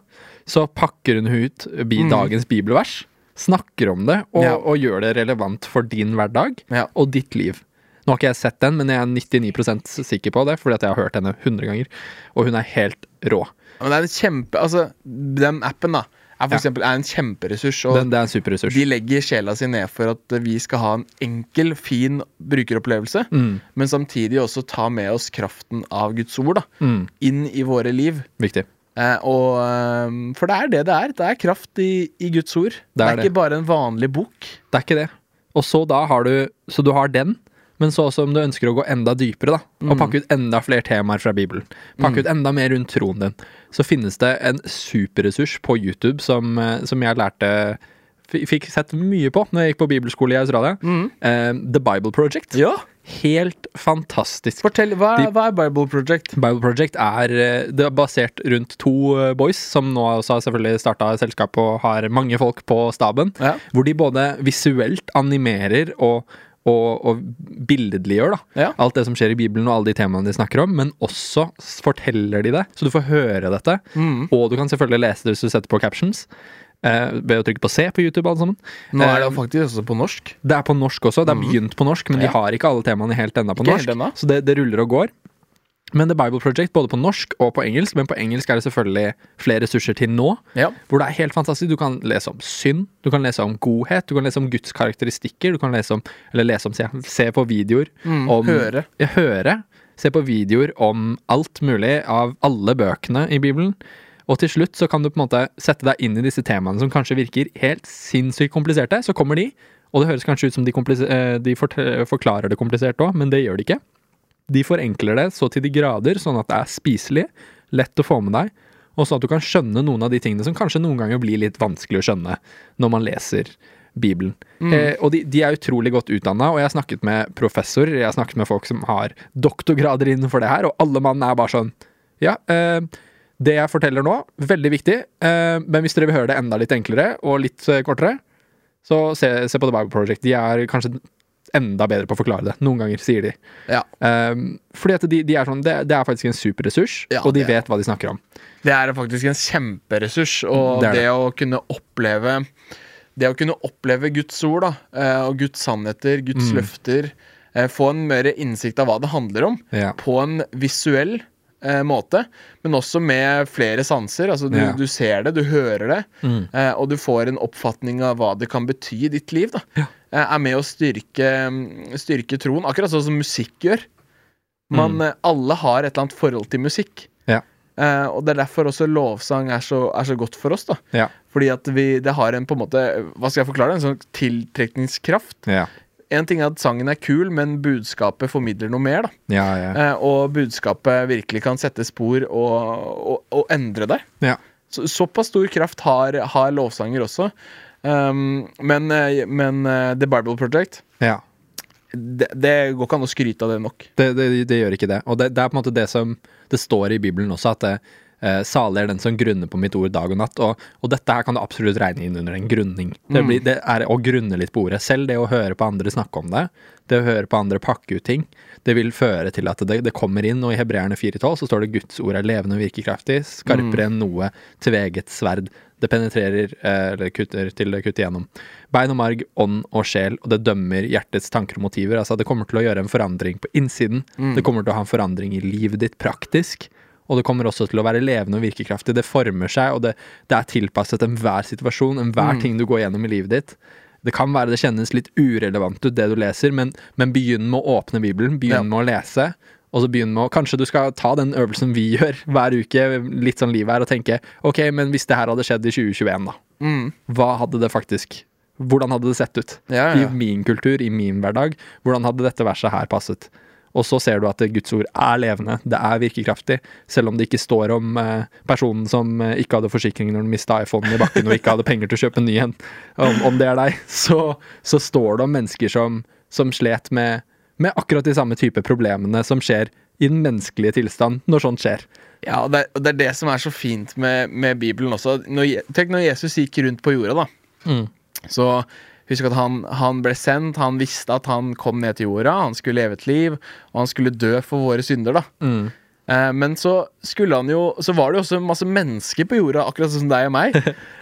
B: så pakker hun ut bi, dagens bibelvers, snakker om det, og,
A: Mm. Ja.
B: og gjør det relevant for din hverdag
A: Ja.
B: og ditt liv. Nå har ikke jeg sett den, men jeg er 99 sikker på det, fordi at jeg har hørt henne 100 ganger, og hun er helt rå.
A: Men det er en kjempe, altså, den appen da, er, for
B: Ja.
A: eksempel, er en kjemperessurs. Og
B: Den, det er en superressurs.
A: de legger sjela si ned for at vi skal ha en enkel, fin brukeropplevelse.
B: Mm.
A: Men samtidig også ta med oss kraften av Guds ord da,
B: Mm,
A: inn i våre liv.
B: viktig.
A: Eh, og, eh, for det er det det er. Det er kraft i, i Guds ord. Det er,
B: det.
A: ikke bare en vanlig bok.
B: Det er ikke det. Og så da har du Så du har den, Men så også om du ønsker å gå enda dypere, da, og pakke ut enda flere temaer fra Bibelen, pakke ut enda mer rundt troen din, så finnes det en superressurs på YouTube som, eh, som jeg lærte f- Fikk sett mye på når jeg gikk på bibelskole i Australia. Eh, The Bible Project.
A: Ja,
B: Helt fantastisk.
A: fortell, hva,
B: De-
A: hva er Bible Project?
B: Bible Project er, eh, det er basert rundt to eh, boys, som nå også har selvfølgelig starta selskap og har mange folk på staben.
A: Ja.
B: Hvor de både visuelt animerer og, og, og billedliggjør da.
A: Ja.
B: alt det som skjer i Bibelen og alle de temaene de snakker om, men også s- forteller de det, så du får høre dette.
A: Mm.
B: Og du kan selvfølgelig lese det hvis du setter på captions. eh, ved å trykke på C på YouTube, alle sammen.
A: Nå er det
B: Eh,
A: faktisk også på norsk.
B: det er på norsk også. Det er begynt på norsk, men de har ikke alle temaene helt ennå på
A: Mhm. Ikke
B: norsk.
A: helt ennå.
B: Så det, det ruller og går. Men The Bible Project både på norsk og på engelsk, men på engelsk er det selvfølgelig flere ressurser til nå.
A: Ja.
B: Hvor det er helt fantastisk. Du kan lese om synd, du kan lese om godhet, du kan lese om Guds karakteristikker, du kan lese om Eller lese om, se, se på videoer om
A: Mm. høre.
B: Ja, høre. Se på videoer om alt mulig av alle bøkene i Bibelen. Og til slutt så kan du på en måte sette deg inn i disse temaene som kanskje virker helt sinnssykt kompliserte. Så kommer de, og det høres kanskje ut som de, komplis- eh, de fortel- forklarer det komplisert òg, men det gjør de ikke. De forenkler det så til de grader, sånn at det er spiselig, lett å få med deg, og sånn at du kan skjønne noen av de tingene som kanskje noen ganger blir litt vanskelig å skjønne når man leser Bibelen. Eh, og de, de er utrolig godt utdanna, og jeg har snakket med professorer, jeg har snakket med folk som har doktorgrader innenfor det her, og alle mann er bare sånn Ja, eh, det jeg forteller nå, veldig viktig, eh, men hvis dere vil høre det enda litt enklere og litt eh, kortere, så se, se på The Bible Project. De er kanskje enda bedre på å forklare det. Noen ganger, sier de.
A: Ja.
B: Um, fordi at de, de er sånn, det, det er faktisk en superressurs,
A: Ja,
B: og de
A: det er-
B: vet hva de snakker om.
A: Det er faktisk en kjemperessurs, og
B: Det
A: Mm, det,
B: er det.
A: å kunne oppleve Det å kunne oppleve Guds ord da, eh, og Guds sannheter, Guds løfter eh, Få en mer innsikt av hva det handler om,
B: Ja.
A: på en visuell eh, måte, men også med flere sanser. Altså du,
B: Ja.
A: du ser det, du hører det, eh, og du får en oppfatning av hva det kan bety i ditt liv. da eh, Er med å styrke, mm, styrke troen, akkurat sånn som musikk gjør. Man, eh, Alle har et eller annet forhold til musikk.
B: Mm. Ja.
A: Eh, og det er derfor også lovsang er så, er så godt for oss. da
B: Ja.
A: Fordi at vi, det har en på en måte Hva skal jeg forklare? En sånn tiltrekningskraft.
B: Ja.
A: En ting er at sangen er kul, men budskapet formidler noe mer. da
B: Ja, ja.
A: eh, Og budskapet virkelig kan sette spor og, og, og endre deg.
B: ja.
A: Så, såpass stor kraft har, har lovsanger også. Um, men eh, men eh, The Bible Project
B: ja.
A: det, det går ikke an å skryte av det nok.
B: Det, det, det gjør ikke det. Og det, det er på en måte det som det står i Bibelen også, at det, eh, salig er den som grunner på mitt ord dag og natt. Og, og dette her kan du absolutt regne inn under en grunning. Det, blir,
A: Mm.
B: det er å grunne litt på ordet. Selv det å høre på andre snakke om det, det å høre på andre pakke ut ting, det vil føre til at det, det kommer inn, og i Hebreerne 4,12 så står det Guds ord er levende og virkekraftig,
A: Mm.
B: skarpere enn noe tveget sverd. Det penetrerer, eh, eller kutter til det kutter gjennom. Bein og marg, ånd og sjel, og det dømmer hjertets tanker og motiver. Altså, det kommer til å gjøre en forandring på innsiden. Det kommer til å ha en forandring i livet ditt praktisk. Og det kommer også til å være levende og virkekraftig. Det former seg, og det, det er tilpasset enhver situasjon, enhver ting du går gjennom i livet ditt. Det kan være det kjennes litt urelevant ut, det du leser, men, men begynn med å åpne Bibelen. Begynn
A: Ja.
B: med å lese. Og så begynn med å, Kanskje du skal ta den øvelsen vi gjør hver uke, litt sånn livet her, og tenke OK, men hvis det her hadde skjedd i 2021, da?
A: Mm.
B: Hva hadde det faktisk Hvordan hadde det sett ut?
A: Ja, ja, ja.
B: I min kultur, i min hverdag. Hvordan hadde dette verset her passet? Og så ser du at Guds ord er levende, det er virkekraftig, selv om det ikke står om eh, personen som eh, ikke hadde forsikring når den mista iPhonen i bakken og ikke hadde penger til å kjøpe en ny en, om, om det er deg, så, så står det om mennesker som, som slet med, med akkurat de samme type problemene som skjer i den menneskelige tilstand når sånt skjer.
A: Ja, og det, er- og det er det som er så fint med, med Bibelen også. Når, Je- tenk når Jesus gikk rundt på jorda, da. Mm. Så husk at han, han ble sendt, han visste at han kom ned til jorda, han skulle leve et liv, og han skulle dø for våre synder, da. Eh, men så skulle han jo Så var det jo også masse mennesker på jorda, akkurat sånn som deg og meg.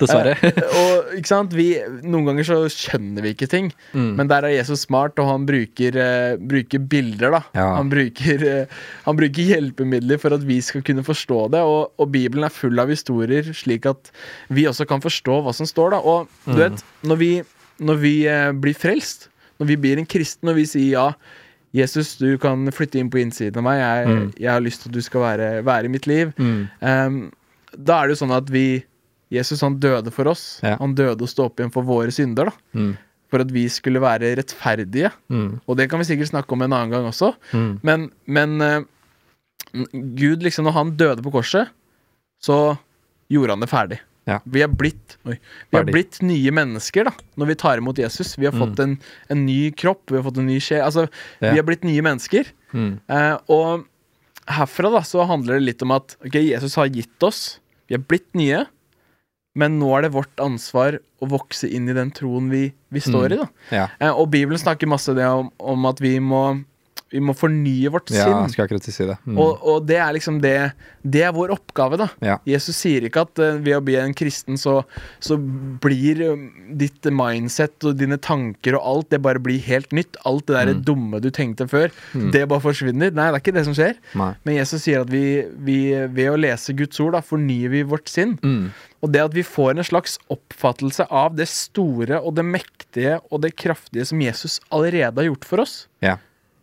B: Dessverre.
A: Eh, og ikke sant, vi, Noen ganger så skjønner vi ikke ting,
B: Mm.
A: men der er Jesus smart, og han bruker, eh, bruker bilder. da
B: Ja.
A: han, bruker, eh, han bruker hjelpemidler for at vi skal kunne forstå det. Og, og Bibelen er full av historier, slik at vi også kan forstå hva som står. da Og
B: Mm.
A: du vet, når vi, når vi eh, blir frelst, når vi blir en kristen, og vi sier ja Jesus, du kan flytte inn på innsiden av meg. Jeg,
B: Mm.
A: jeg har lyst til at du skal være, være i mitt liv. Ehm, da er det jo sånn at vi Jesus han døde for oss.
B: Ja.
A: Han døde og sto opp igjen for våre synder. da for at vi skulle være rettferdige.
B: Mm.
A: Og det kan vi sikkert snakke om en annen gang også.
B: Mm.
A: Men, men eh, Gud, liksom, når han døde på korset, så gjorde han det ferdig.
B: Ja.
A: Vi er blitt oi, Vi har
B: Ferdig. Mm.
A: blitt nye mennesker da når vi tar imot Jesus. Vi har fått en, en ny kropp, vi har fått en ny sjel. Altså,
B: Ja.
A: vi har blitt nye mennesker.
B: Mm.
A: Eh, og herfra da så handler det litt om at ok, Jesus har gitt oss, vi er blitt nye, men nå er det vårt ansvar å vokse inn i den troen vi, vi står i. da
B: Ja.
A: Eh, Og Bibelen snakker masse det om, om at vi må, vi må fornye vårt
B: ja,
A: sinn.
B: skal akkurat si det. Mm.
A: Og, og det er liksom det Det er vår oppgave, da.
B: Ja.
A: Jesus sier ikke at eh, ved å bli en kristen, så, så blir eh, ditt mindset og dine tanker og alt, det bare blir helt nytt. Alt det
B: Mm.
A: der dumme du tenkte før, det bare forsvinner. Nei, det er ikke det som skjer.
B: Nei.
A: Men Jesus sier at vi, vi ved å lese Guds ord, da, fornyer vi vårt sinn.
B: Mm.
A: Og det at vi får en slags oppfattelse av det store og det mektige og det kraftige som Jesus allerede har gjort for oss.
B: Ja.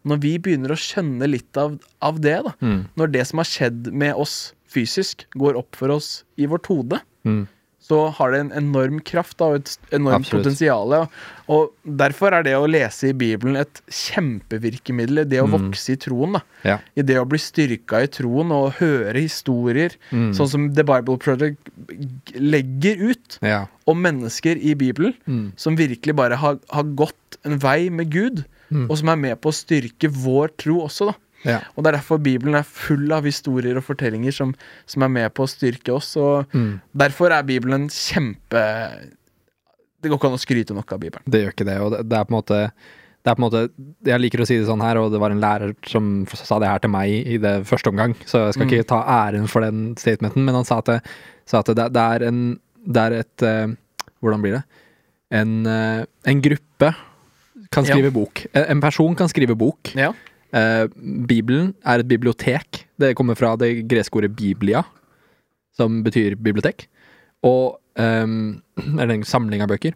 A: Når vi begynner å skjønne litt av, av det, da.
B: Mm.
A: Når det som har skjedd med oss fysisk, går opp for oss i vårt hode,
B: Mm.
A: så har det en enorm kraft da, og et enormt
B: Absolutt.
A: potensial. Og, og derfor er det å lese i Bibelen et kjempevirkemiddel i det å vokse i troen. da.
B: Mm. Ja.
A: I det å bli styrka i troen og høre historier,
B: Mm.
A: sånn som The Bible Project g- legger ut
B: Ja.
A: om mennesker i Bibelen
B: Mm.
A: som virkelig bare har, har gått en vei med Gud,
B: Mm.
A: og som er med på å styrke vår tro også, da.
B: Ja.
A: Og det er derfor Bibelen er full av historier og fortellinger som, som er med på å styrke oss. Og
B: Mm.
A: derfor er Bibelen kjempe Det går ikke an å skryte nok av Bibelen.
B: Det gjør ikke det, og det, det er på en måte det er på en måte, Jeg liker å si det sånn her, og det var en lærer som sa det her til meg i det første omgang, så jeg skal ikke ta æren for den statementen, men han sa at det, sa at det, det er en Det er et eh, Hvordan blir det? En, eh, en gruppe kan
A: Ja.
B: skrive bok. En- En person kan skrive bok.
A: Ja.
B: Eh, Bibelen er et bibliotek. Det kommer fra det greske ordet biblia, som betyr bibliotek. Og ehm, Eller en samling av bøker.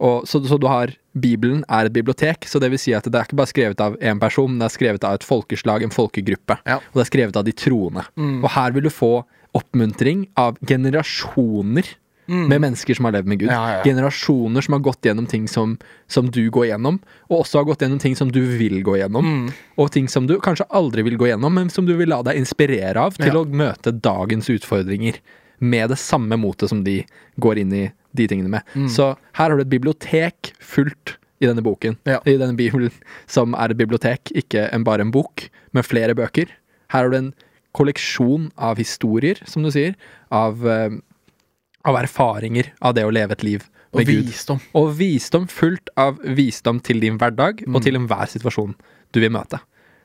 B: Og, så, så du har Bibelen er et bibliotek, så det vil si at det er ikke bare skrevet av én person, men det er skrevet av et folkeslag, en folkegruppe.
A: Ja.
B: Og det er skrevet av de troende. Og her vil du få oppmuntring av generasjoner med mennesker som har levd med Gud.
A: Ja, ja, ja.
B: Generasjoner som har gått gjennom ting som, som du går gjennom, og også har gått gjennom ting som du vil gå gjennom.
A: Mm.
B: Og ting som du kanskje aldri vil gå gjennom, men som du vil la deg inspirere av til
A: Ja.
B: å møte dagens utfordringer med det samme motet som de går inn i de tingene med.
A: Mm.
B: Så her har du et bibliotek fullt i denne boken,
A: Ja.
B: i denne bibelen, som er et bibliotek, ikke en, bare en bok, men flere bøker. Her har du en kolleksjon av historier, som du sier, av, eh, av erfaringer av det å leve et liv
A: Og
B: med Gud.
A: visdom.
B: Og visdom fullt av visdom til din hverdag og til enhver situasjon du vil møte.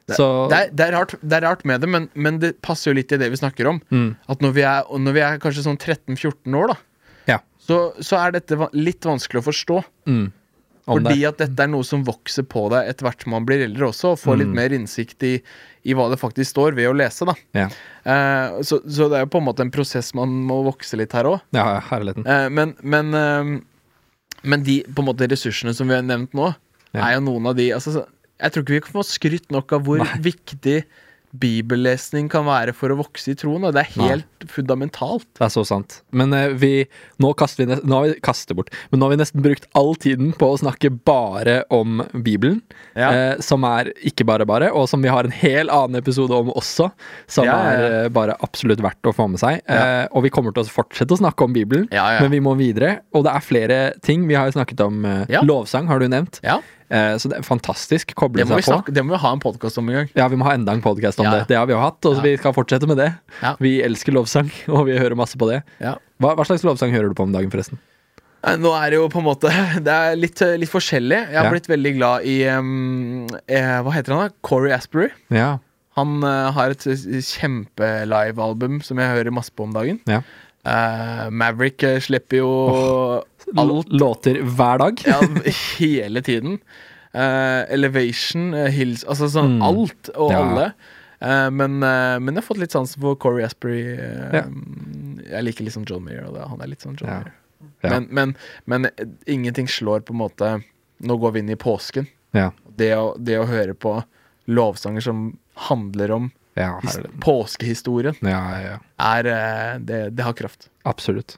B: Så
A: Mm. Det er, det, er rart, det er rart med det, men, men det passer jo litt i det vi snakker om.
B: Mm.
A: At når vi er, og når vi er kanskje sånn 13-14 år, da,
B: Ja.
A: så, så er dette va- litt vanskelig å forstå.
B: mm, om
A: Fordi
B: det.
A: at dette er noe som vokser på deg etter hvert som man blir eldre også, og får litt mer innsikt i, i hva det faktisk står ved å lese. da.
B: Ja.
A: Eh, så, så det er jo på en måte en prosess man må vokse litt her òg.
B: ja, herligheten.
A: Eh, men, men, eh, men de på en måte ressursene som vi har nevnt nå,
B: Ja.
A: er jo noen av de altså, så- Jeg tror ikke vi kan få skrytt nok av hvor viktig bibellesning kan være for å vokse i troen. Og det er helt fundamentalt.
B: Det er så sant. Men eh, vi, nå kaster vi nes- nå har vi kaster bort. Men nå har vi nesten brukt all tiden på å snakke bare om Bibelen.
A: Ja.
B: Eh, som er ikke bare bare, og som vi har en hel annen episode om også. Som
A: Ja, ja, ja.
B: er eh, bare absolutt verdt å få med seg. Eh, og vi kommer til å fortsette å snakke om Bibelen,
A: Ja, ja.
B: men vi må videre. Og det er flere ting. Vi har jo snakket om eh,
A: Ja.
B: lovsang, har du nevnt.
A: Ja,
B: Eh, så det er fantastisk. Koble
A: Det må vi,
B: seg på.
A: snakke, det må vi ha en podkast om en gang.
B: Ja, vi må ha enda en podkast om
A: Ja, ja.
B: det. Det har vi jo hatt, og
A: Ja.
B: vi skal fortsette med det.
A: Ja.
B: Vi elsker lovsang, og vi hører masse på det.
A: Ja.
B: Hva, hva slags lovsang hører du på om dagen, forresten?
A: Nei, Nå er det jo på en måte Det er litt, eh, litt forskjellig. Jeg har
B: Ja.
A: blitt veldig glad i um, eh, Hva heter han, da? Corey Asbury.
B: Ja,
A: Han eh, har et kjempelivealbum som jeg hører masse på om dagen.
B: ja.
A: Eh, Maverick eh, slipper jo
B: L- Låter hver dag.
A: ja, hele tiden. Eh, Elevation, eh, Hills Altså sånn
B: Mm.
A: alt og
B: Ja.
A: alle. Eh, men, eh, men jeg har fått litt sansen for Corey Asbury. eh,
B: Ja.
A: Jeg liker liksom John Mayer, og det, han er litt sånn John
B: Ja.
A: Mayer.
B: Ja.
A: Men, men, men eh, ingenting slår på en måte Nå går vi inn i påsken.
B: Ja.
A: Det å, det å høre på lovsanger som handler om
B: Ja,
A: his
B: herlig.
A: påskehistorien,
B: ja, ja, ja.
A: er eh, det, det har kraft.
B: Absolutt.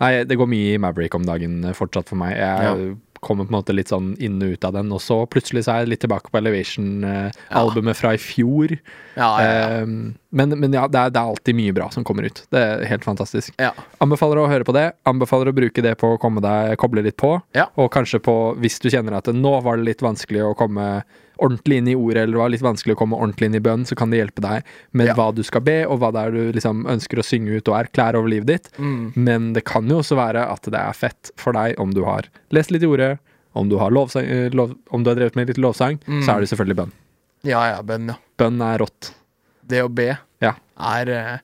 B: Nei, det går mye i Maverick om dagen eh, fortsatt for meg. Jeg
A: Ja.
B: kommer på en måte litt sånn inn og ut av den. Og så plutselig så er jeg litt tilbake på Elevation-albumet fra i fjor.
A: Ja, ja,
B: Eh, men, men ja, det er, det er alltid mye bra som kommer ut. Det er helt fantastisk.
A: ja. ja.
B: Anbefaler å høre på det. Anbefaler å bruke det på å komme deg, koble litt på.
A: Ja.
B: Og kanskje på, hvis du kjenner at nå var det litt vanskelig å komme ordentlig inn i ordet, eller det var litt vanskelig å komme ordentlig inn i bønnen, så kan det hjelpe deg med
A: Ja.
B: hva du skal be, og hva det er du liksom ønsker å synge ut og erklære over livet ditt.
A: Mm.
B: Men det kan jo også være at det er fett for deg om du har lest litt i ordet, om du har, lovsang, eh, lov, om du har drevet med litt lovsang,
A: Mm.
B: så er det selvfølgelig bønn.
A: Ja, ja, bønn, ja.
B: Bønn er rått.
A: Det å be
B: Ja.
A: er eh,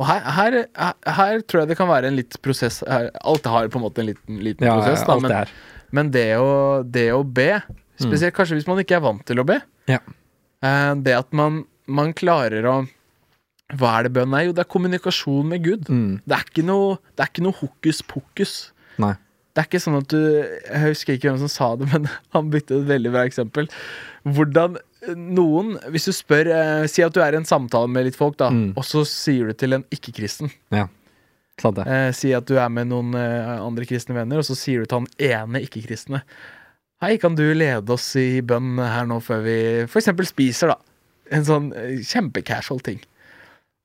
A: Og her, her, her, her tror jeg det kan være en litt prosess her, Alt har på en måte en liten, liten
B: Ja,
A: prosess, da,
B: alt
A: men,
B: det her.
A: men det, å, det å be Spesielt kanskje hvis man ikke er vant til å be.
B: Ja.
A: Eh, det at man, man klarer å Hva er det bønn er? Jo, det er kommunikasjon med Gud.
B: Mm.
A: Det er ikke noe, det er ikke noe hokus pokus.
B: Nei.
A: Det er ikke sånn at du Jeg husker ikke hvem som sa det, men han bytte et veldig bra eksempel. Hvordan eh, noen Hvis du spør eh, Si at du er i en samtale med litt folk, da,
B: Mm.
A: og så sier du til en ikke-kristen
B: Ja. Sant det.
A: eh, Si at du er med noen eh, andre kristne venner, og så sier du til han ene ikke-kristne Hei, kan du lede oss i bønn her nå før vi f.eks. spiser, da? En sånn eh, kjempecasual ting.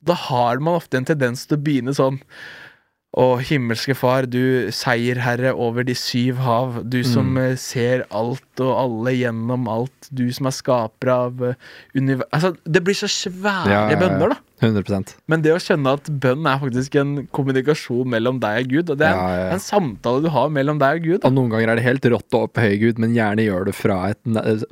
A: Da har man ofte en tendens til å begynne sånn Å, himmelske far, du seierherre over de syv hav, du som
B: Mm.
A: eh, ser alt og alle gjennom alt, du som er skaper av universet Altså, det blir så svære
B: Ja, ja, ja.
A: bønner, da.
B: 100
A: Men det å skjønne at bønn er faktisk en kommunikasjon mellom deg og Gud, og det er en,
B: Ja, ja, ja.
A: en samtale du har mellom deg og Gud. Da.
B: Og noen ganger er det helt rått å opphøye Gud, men gjerne gjør det fra et,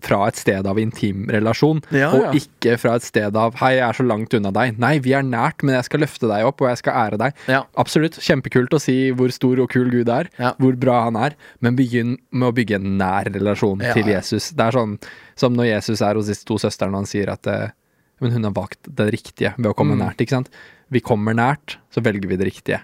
B: fra et sted av intim relasjon,
A: Ja, ja.
B: og ikke fra et sted av 'hei, jeg er så langt unna deg'. Nei, vi er nært, men jeg skal løfte deg opp, og jeg skal ære deg.
A: Ja.
B: Absolutt. Kjempekult å si hvor stor og kul Gud er,
A: Ja.
B: hvor bra han er, men begynn med å bygge en nær relasjon
A: Ja,
B: til
A: ja.
B: Jesus. Det er sånn som når Jesus er hos disse to søstrene, og han sier at eh, men hun har valgt det riktige ved å komme
A: Mm.
B: nært, ikke sant? Vi kommer nært, så velger vi det riktige.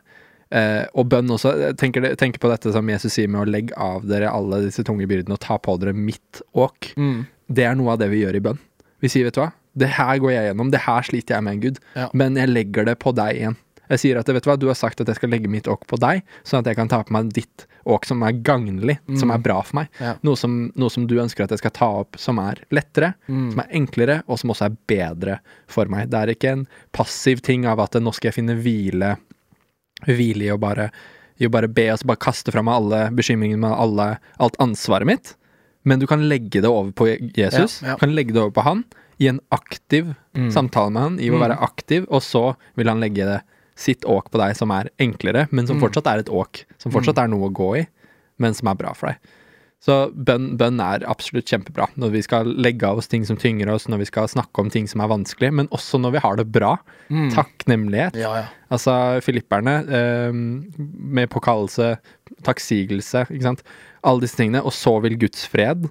B: Eh, og bønn også. Jeg Tenker, det- tenker på dette som Jesus sier med å legge av dere alle disse tunge byrdene og ta på dere mitt åk.
A: Mm.
B: Det er noe av det vi gjør i bønn. Vi sier, vet du hva, det her går jeg gjennom, det her sliter jeg med, Gud,
A: Ja.
B: men jeg legger det på deg igjen. Jeg sier at vet du hva, du har sagt at jeg skal legge mitt åk på deg, sånn at jeg kan ta på meg ditt åk som er gagnlig, som er bra for meg.
A: Ja.
B: Noe, som, noe som du ønsker at jeg skal ta opp som er lettere,
A: Mm.
B: som er enklere, og som også er bedre for meg. Det er ikke en passiv ting av at nå skal jeg finne hvile hvile i å bare, i å bare be og så bare kaste fra meg alle bekymringene med alle, alt ansvaret mitt. Men du kan legge det over på Jesus,
A: Ja, Mm. ja.
B: Du kan legge det over på han, i en aktiv samtale med han, i å være aktiv, og så vil han legge det sitt åk på deg som er enklere, men
A: Mm.
B: som fortsatt er et åk, som fortsatt er noe å gå i, men som er bra for deg. Så bønn, bønn er absolutt kjempebra når vi skal legge av oss ting som tynger oss, når vi skal snakke om ting som er vanskelig, men også når vi har det bra. Takknemlighet.
A: mm. Ja, ja.
B: Altså filipperne, eh, med påkallelse, takksigelse, ikke sant. Alle disse tingene. Og så vil Guds fred,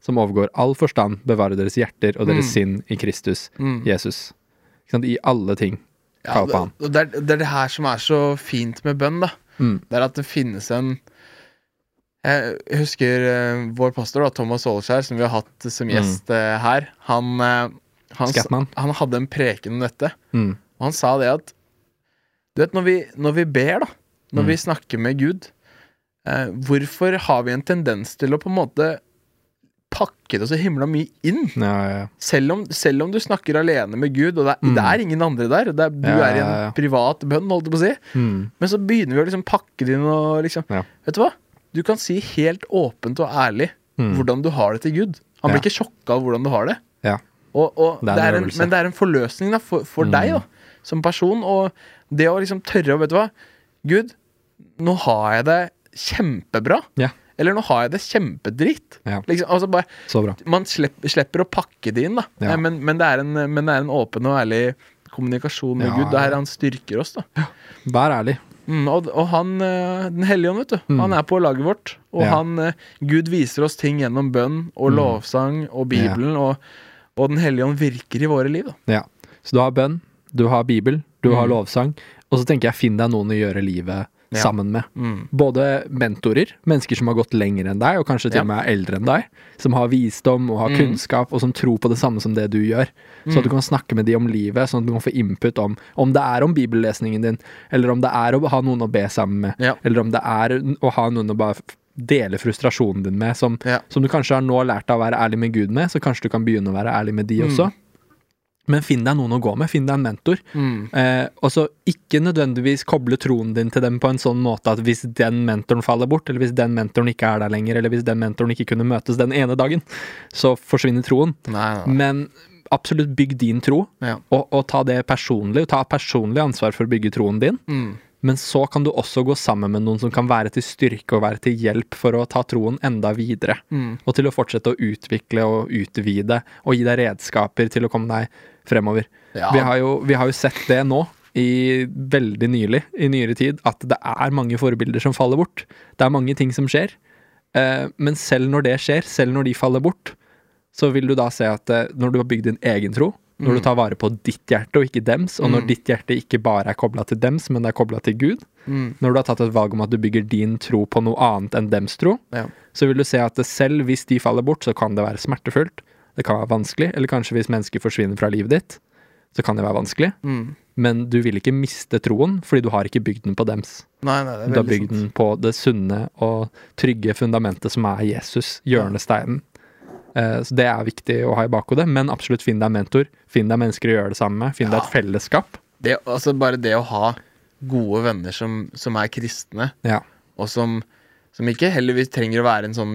B: som overgår all forstand, bevare deres hjerter og deres sinn i Kristus, Jesus. Ikke sant? I alle ting.
A: Mm. Ja,
B: Kall på han.
A: det, og det, er, det er det her som er så fint med bønn, da.
B: Mm.
A: Det er at det finnes en Jeg husker eh, vår pastor, da, Thomas Aaleskjær, som vi har hatt
B: Mm.
A: som gjest eh, her. Han, eh, han, s-
B: Scatman.
A: han hadde en preken om dette,
B: Mm.
A: og han sa det at Du vet, når vi, når vi ber, da, når
B: Mm.
A: vi snakker med Gud, eh, hvorfor har vi en tendens til å på en måte pakke det så himla mye inn?
B: Ja, ja, ja.
A: Selv om, selv om du snakker alene med Gud, og det er, det er ingen andre der, og det er, du
B: Mm. Ja, ja,
A: er i
B: ja, ja.
A: en privat bønn, holdt jeg på å si,
B: Mm.
A: men så begynner vi å liksom pakke det inn og liksom
B: Ja.
A: Vet du hva? Du kan si helt åpent og ærlig
B: Mm.
A: hvordan du har det til Gud. Han blir
B: Ja.
A: ikke sjokka av hvordan du har det.
B: ja.
A: Og, og
B: Det
A: det
B: er
A: er en,
B: en øvelse. Mm.
A: men det er en forløsning da, for, for deg da, som person, og det å liksom tørre å Vet du hva? Gud, nå har jeg det kjempebra.
B: Ja.
A: Eller nå har jeg det kjempedritt.
B: Ja.
A: Liksom, altså bare
B: Så bra.
A: man slipper, slipper å pakke det inn, da.
B: Ja.
A: Eh, Men, men, det er en, men det er en åpen og ærlig kommunikasjon med
B: Ja,
A: Gud. Det er
B: ja.
A: her han styrker oss, da.
B: Vær ærlig.
A: Mm, og, og han eh, Den hellige ånd, vet du. Han er på laget vårt. Og
B: Ja.
A: han eh, Gud viser oss ting gjennom bønn og lovsang og Bibelen. Og, og Den hellige ånd virker i våre liv, da.
B: Ja. Så du har bønn, du har Bibel, du har lovsang, og så tenker jeg finn deg noen å gjøre livet
A: Mm. Ja. Mm.
B: sammen med. Både mentorer, mennesker som har gått lenger enn deg, og kanskje til
A: Ja. Mm.
B: og med er eldre enn deg, som har visdom og har kunnskap, og som tror på det samme som det du gjør. Så at du kan snakke med de om livet, sånn at du kan få input om om det er om bibellesningen din, eller om det er å ha noen å be sammen med,
A: Ja.
B: eller om det er å ha noen å bare dele frustrasjonen din med, som,
A: Ja.
B: som du kanskje har nå lært deg å være ærlig med Gud med, så kanskje du kan begynne å være ærlig med de også. Men finn deg noen å gå med. Finn deg en mentor.
A: Mm.
B: Eh, og så ikke nødvendigvis koble troen din til dem på en sånn måte at hvis den mentoren faller bort, eller hvis den mentoren ikke er der lenger, eller hvis den mentoren ikke kunne møtes den ene dagen, så forsvinner troen.
A: Nei, nei.
B: Men absolutt bygg din tro,
A: Ja.
B: og, og ta det personlig. Ta personlig ansvar for å bygge troen din.
A: Mm.
B: Men så kan du også gå sammen med noen som kan være til styrke og være til hjelp for å ta troen enda videre.
A: Mm.
B: Og til å fortsette å utvikle og utvide og gi deg redskaper til å komme deg fremover.
A: Ja.
B: Vi, har jo, vi har jo sett det nå, i veldig nylig, i nyere tid, at det er mange forbilder som faller bort. Det er mange ting som skjer. Eh, men selv når det skjer, selv når de faller bort, så vil du da se at eh, når du har bygd din egen tro, når du tar vare på ditt hjerte og ikke dems, og når ditt hjerte ikke bare er kobla til dems, men det er kobla til Gud,
A: Mm.
B: når du har tatt et valg om at du bygger din tro på noe annet enn dems tro,
A: Ja.
B: så vil du se at selv hvis de faller bort, så kan det være smertefullt, det kan være vanskelig, eller kanskje hvis mennesker forsvinner fra livet ditt, så kan det være vanskelig,
A: Mm.
B: men du vil ikke miste troen, fordi du har ikke bygd den på dems.
A: Nei, nei, det er
B: Du har
A: veldig
B: bygd
A: sant.
B: den på det sunne og trygge fundamentet som er Jesus, hjørnesteinen. Eh, Så det er viktig å ha i bakhodet, men absolutt finn deg en mentor. Finn deg mennesker å gjøre det samme med. Finn deg et fellesskap.
A: Det, altså bare det å ha gode venner som, som er kristne,
B: Ja,
A: og som, som ikke heldigvis trenger å være en sånn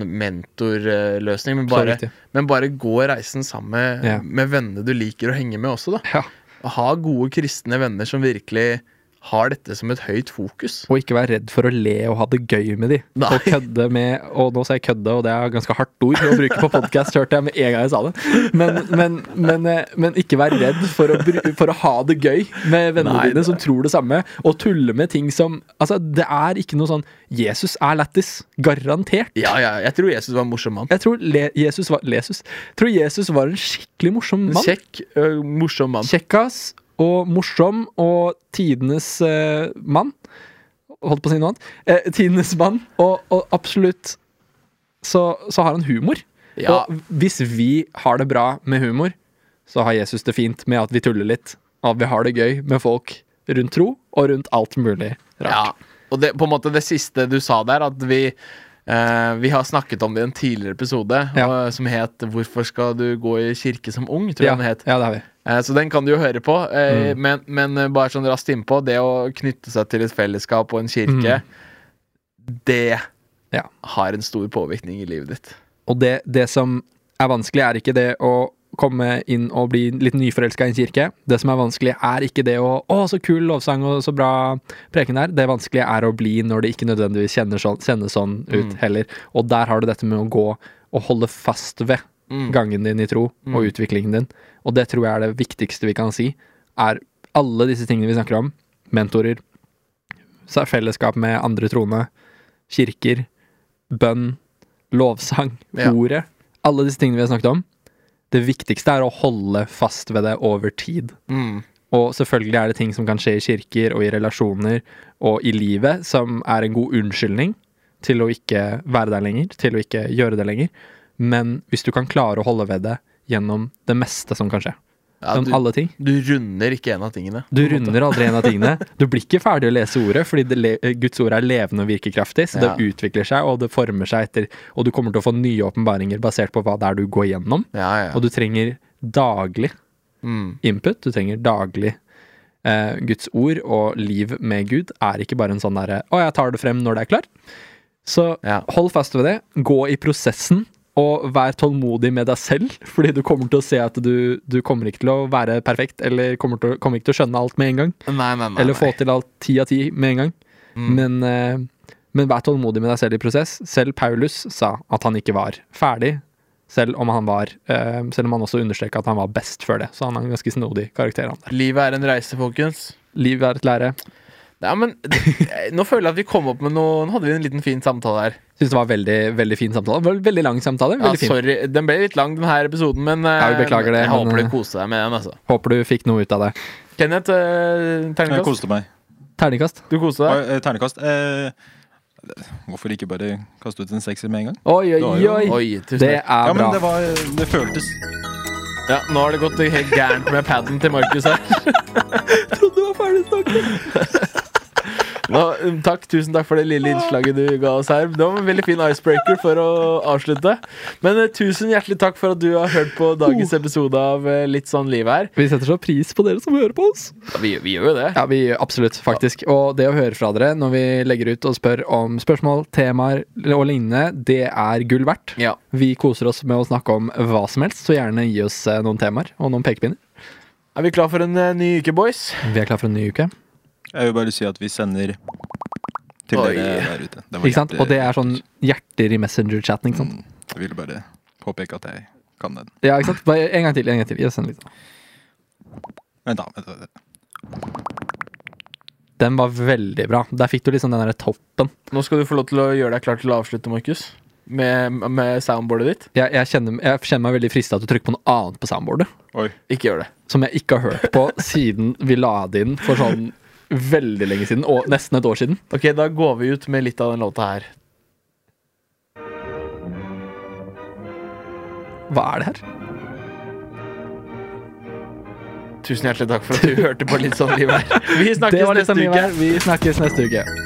A: mentorløsning, men
B: Så
A: bare,
B: riktig.
A: men bare gå reisen sammen med,
B: Ja.
A: med vennene du liker å henge med også, da.
B: ja.
A: Ha gode kristne venner som virkelig har dette som et høyt fokus.
B: Og ikke vær redd for å le og ha det gøy med de.
A: Nei.
B: Og kødde med Og nå sa jeg kødde, og det er ganske hardt ord å bruke på podkast, hørte jeg med en gang jeg sa det. Men, men, men, eh, men ikke vær redd for å, bru- for å ha det gøy med vennene
A: Nei,
B: dine som tror det samme, og tulle med ting som Altså, det er ikke noe sånn Jesus er lættis. Garantert.
A: Ja, ja, jeg tror Jesus var en morsom mann.
B: Jeg tror le Jesus var Jesus. Jeg tror Jesus var en skikkelig morsom mann.
A: Kjekk, ø, morsom mann.
B: Kjekkas og morsom og tidenes eh, mann. Holdt på å si noe annet. Eh, tidenes mann. Og, og absolutt så, så har han humor.
A: Ja.
B: Og hvis vi har det bra med humor, så har Jesus det fint med at vi tuller litt. Og at vi har det gøy med folk rundt tro og rundt alt mulig
A: Ja,
B: rart.
A: og det, på en måte det siste du sa der, at vi eh, vi har snakket om det i en tidligere episode
B: Ja.
A: og, som het 'Hvorfor skal du gå i kirke som ung?' tror jeg
B: ja, Mm.
A: den het.
B: ja, det har vi.
A: Eh, Så den kan du jo høre på. eh, Men, men eh, bare sånn raskt innpå, det å knytte seg til et fellesskap og en kirke, det
B: Mm. Ja.
A: har en stor påvirkning i livet ditt.
B: Og det, det som er vanskelig, er ikke det å komme inn og bli litt nyforelska i en kirke. Det som er vanskelig, er ikke det å Å, så kul lovsang og så bra preken der. Det vanskelige er å bli når det ikke nødvendigvis kjennes sånn, kjennes sånn ut heller. Og der har du dette med å gå og holde fast ved
A: Mm.
B: gangen din i tro og utviklingen din. Og det tror jeg er det viktigste vi kan si, er alle disse tingene vi snakker om. Mentorer, så er fellesskap med andre troende, kirker, bønn, lovsang,
A: Ja.
B: ordet. Alle disse tingene vi har snakket om. Det viktigste er å holde fast ved det over tid.
A: Mm.
B: Og selvfølgelig er det ting som kan skje i kirker og i relasjoner og i livet som er en god unnskyldning til å ikke være der lenger, til å ikke gjøre det lenger. Men hvis du kan klare å holde ved det gjennom det meste som kan skje.
A: Ja,
B: Gjennom
A: du,
B: alle ting.
A: du runder ikke en av tingene.
B: Du runder aldri en av tingene. Du blir ikke ferdig å lese ordet, fordi det, le- Guds ord er levende og virkekraftig, så
A: Ja.
B: det utvikler seg, og det former seg etter Og du kommer til å få nye åpenbaringer basert på hva det er du går gjennom.
A: Ja, ja.
B: Og du trenger daglig
A: Mm.
B: input, du trenger daglig eh, Guds ord, og liv med Gud er ikke bare en sånn derre Å, jeg tar det frem når det er klart. Så
A: Ja.
B: hold fast ved det. Gå i prosessen. Og vær tålmodig med deg selv, fordi du kommer til å se at du, du kommer ikke til å være perfekt, eller kommer, til, å- kommer ikke til å skjønne alt med en gang.
A: Nei, nei, Mm. nei.
B: Eller få
A: nei.
B: til alt ti av ti med en gang.
C: Mm.
B: Men, eh, men vær tålmodig med deg selv i prosess. Selv Paulus sa at han ikke var ferdig, selv om han var eh, Selv om han også understreka at han var best før det. Så han er en ganske snodig karakter. han der.
A: Livet er en reise, folkens.
B: Liv er et lære.
A: Ja, men det- Nå føler jeg at vi kom opp med noe Nå hadde vi en liten fin samtale her.
B: Syns det var veldig, veldig fin samtale. Vel- Veldig lang samtale.
A: Ja,
B: Veldig fin.
A: sorry, Den ble litt lang, den her episoden, men eh,
B: Ja, vi beklager det,
A: jeg
B: men,
A: håper
B: eh,
A: du koser deg med den. altså
B: Håper du fikk noe ut av det.
A: Kenneth, eh,
C: Jeg
A: terningkast.
C: koste meg.
B: Terningkast.
A: Du koste deg?
C: Og, eh, Ternekast. Eh, hvorfor ikke bare kaste ut en sekser med en gang?
B: Oi,
C: Det var
B: oi,
C: jo-
B: oi!
A: Oi, tusen
B: Det
A: takk.
B: er
C: Ja, men
B: bra.
C: det var Det føltes
A: Ja, nå har det gått helt gærent med paden til Markus her.
B: Jeg trodde du var ferdig snakket!
A: Nå, um, takk, Tusen takk for det lille innslaget du ga oss her. Det var en veldig fin icebreaker for å avslutte. Men eh, tusen hjertelig takk for at du har hørt på dagens episode av eh, Litt sånn liv her.
B: Vi setter så pris på dere som hører på oss.
A: Vi, gjør jo det.
B: Ja, vi absolutt, faktisk. Og det å høre fra dere når vi legger ut og spør om spørsmål, temaer og lignende, det er gull verdt.
A: Ja.
B: Vi koser oss med å snakke om hva som helst, så gjerne gi oss eh, noen temaer og noen pekepinner.
A: Er vi klar for en eh, ny uke, boys?
B: Vi er klar for en ny uke.
C: Jeg vil bare si at vi sender til
A: Oi.
C: dere der ute. Det var
B: Ikke sant?
C: hjerte-
B: Og det er sånn hjerter i Messenger-chatten. Ikke sant?
C: Jeg ville bare påpeke at jeg kan den.
B: Ja, ikke sant? Bare en gang til. En gang til. Gi oss en liten.
C: Vent, da. Vent, vent.
B: Den var veldig bra. Der fikk du liksom den derre toppen.
A: Nå skal du få lov til å gjøre deg klar til å avslutte, Markus. Med, med soundboardet ditt.
B: Jeg, jeg, kjenner, jeg kjenner meg veldig frista til å trykke på noe annet på soundboardet.
C: Oi.
A: Ikke gjør det.
B: Som jeg ikke har hørt på siden vi la det inn for sånn veldig lenge siden. Og nesten et år siden.
A: Ok, Da går vi ut med litt av den låta her.
B: Hva er det her?
A: Tusen hjertelig takk for at du hørte på Litt sånn liv her. Vi
B: Det
A: snakkes
B: var litt
A: neste
B: sånn
A: uke.
B: livet. Vi snakkes neste uke.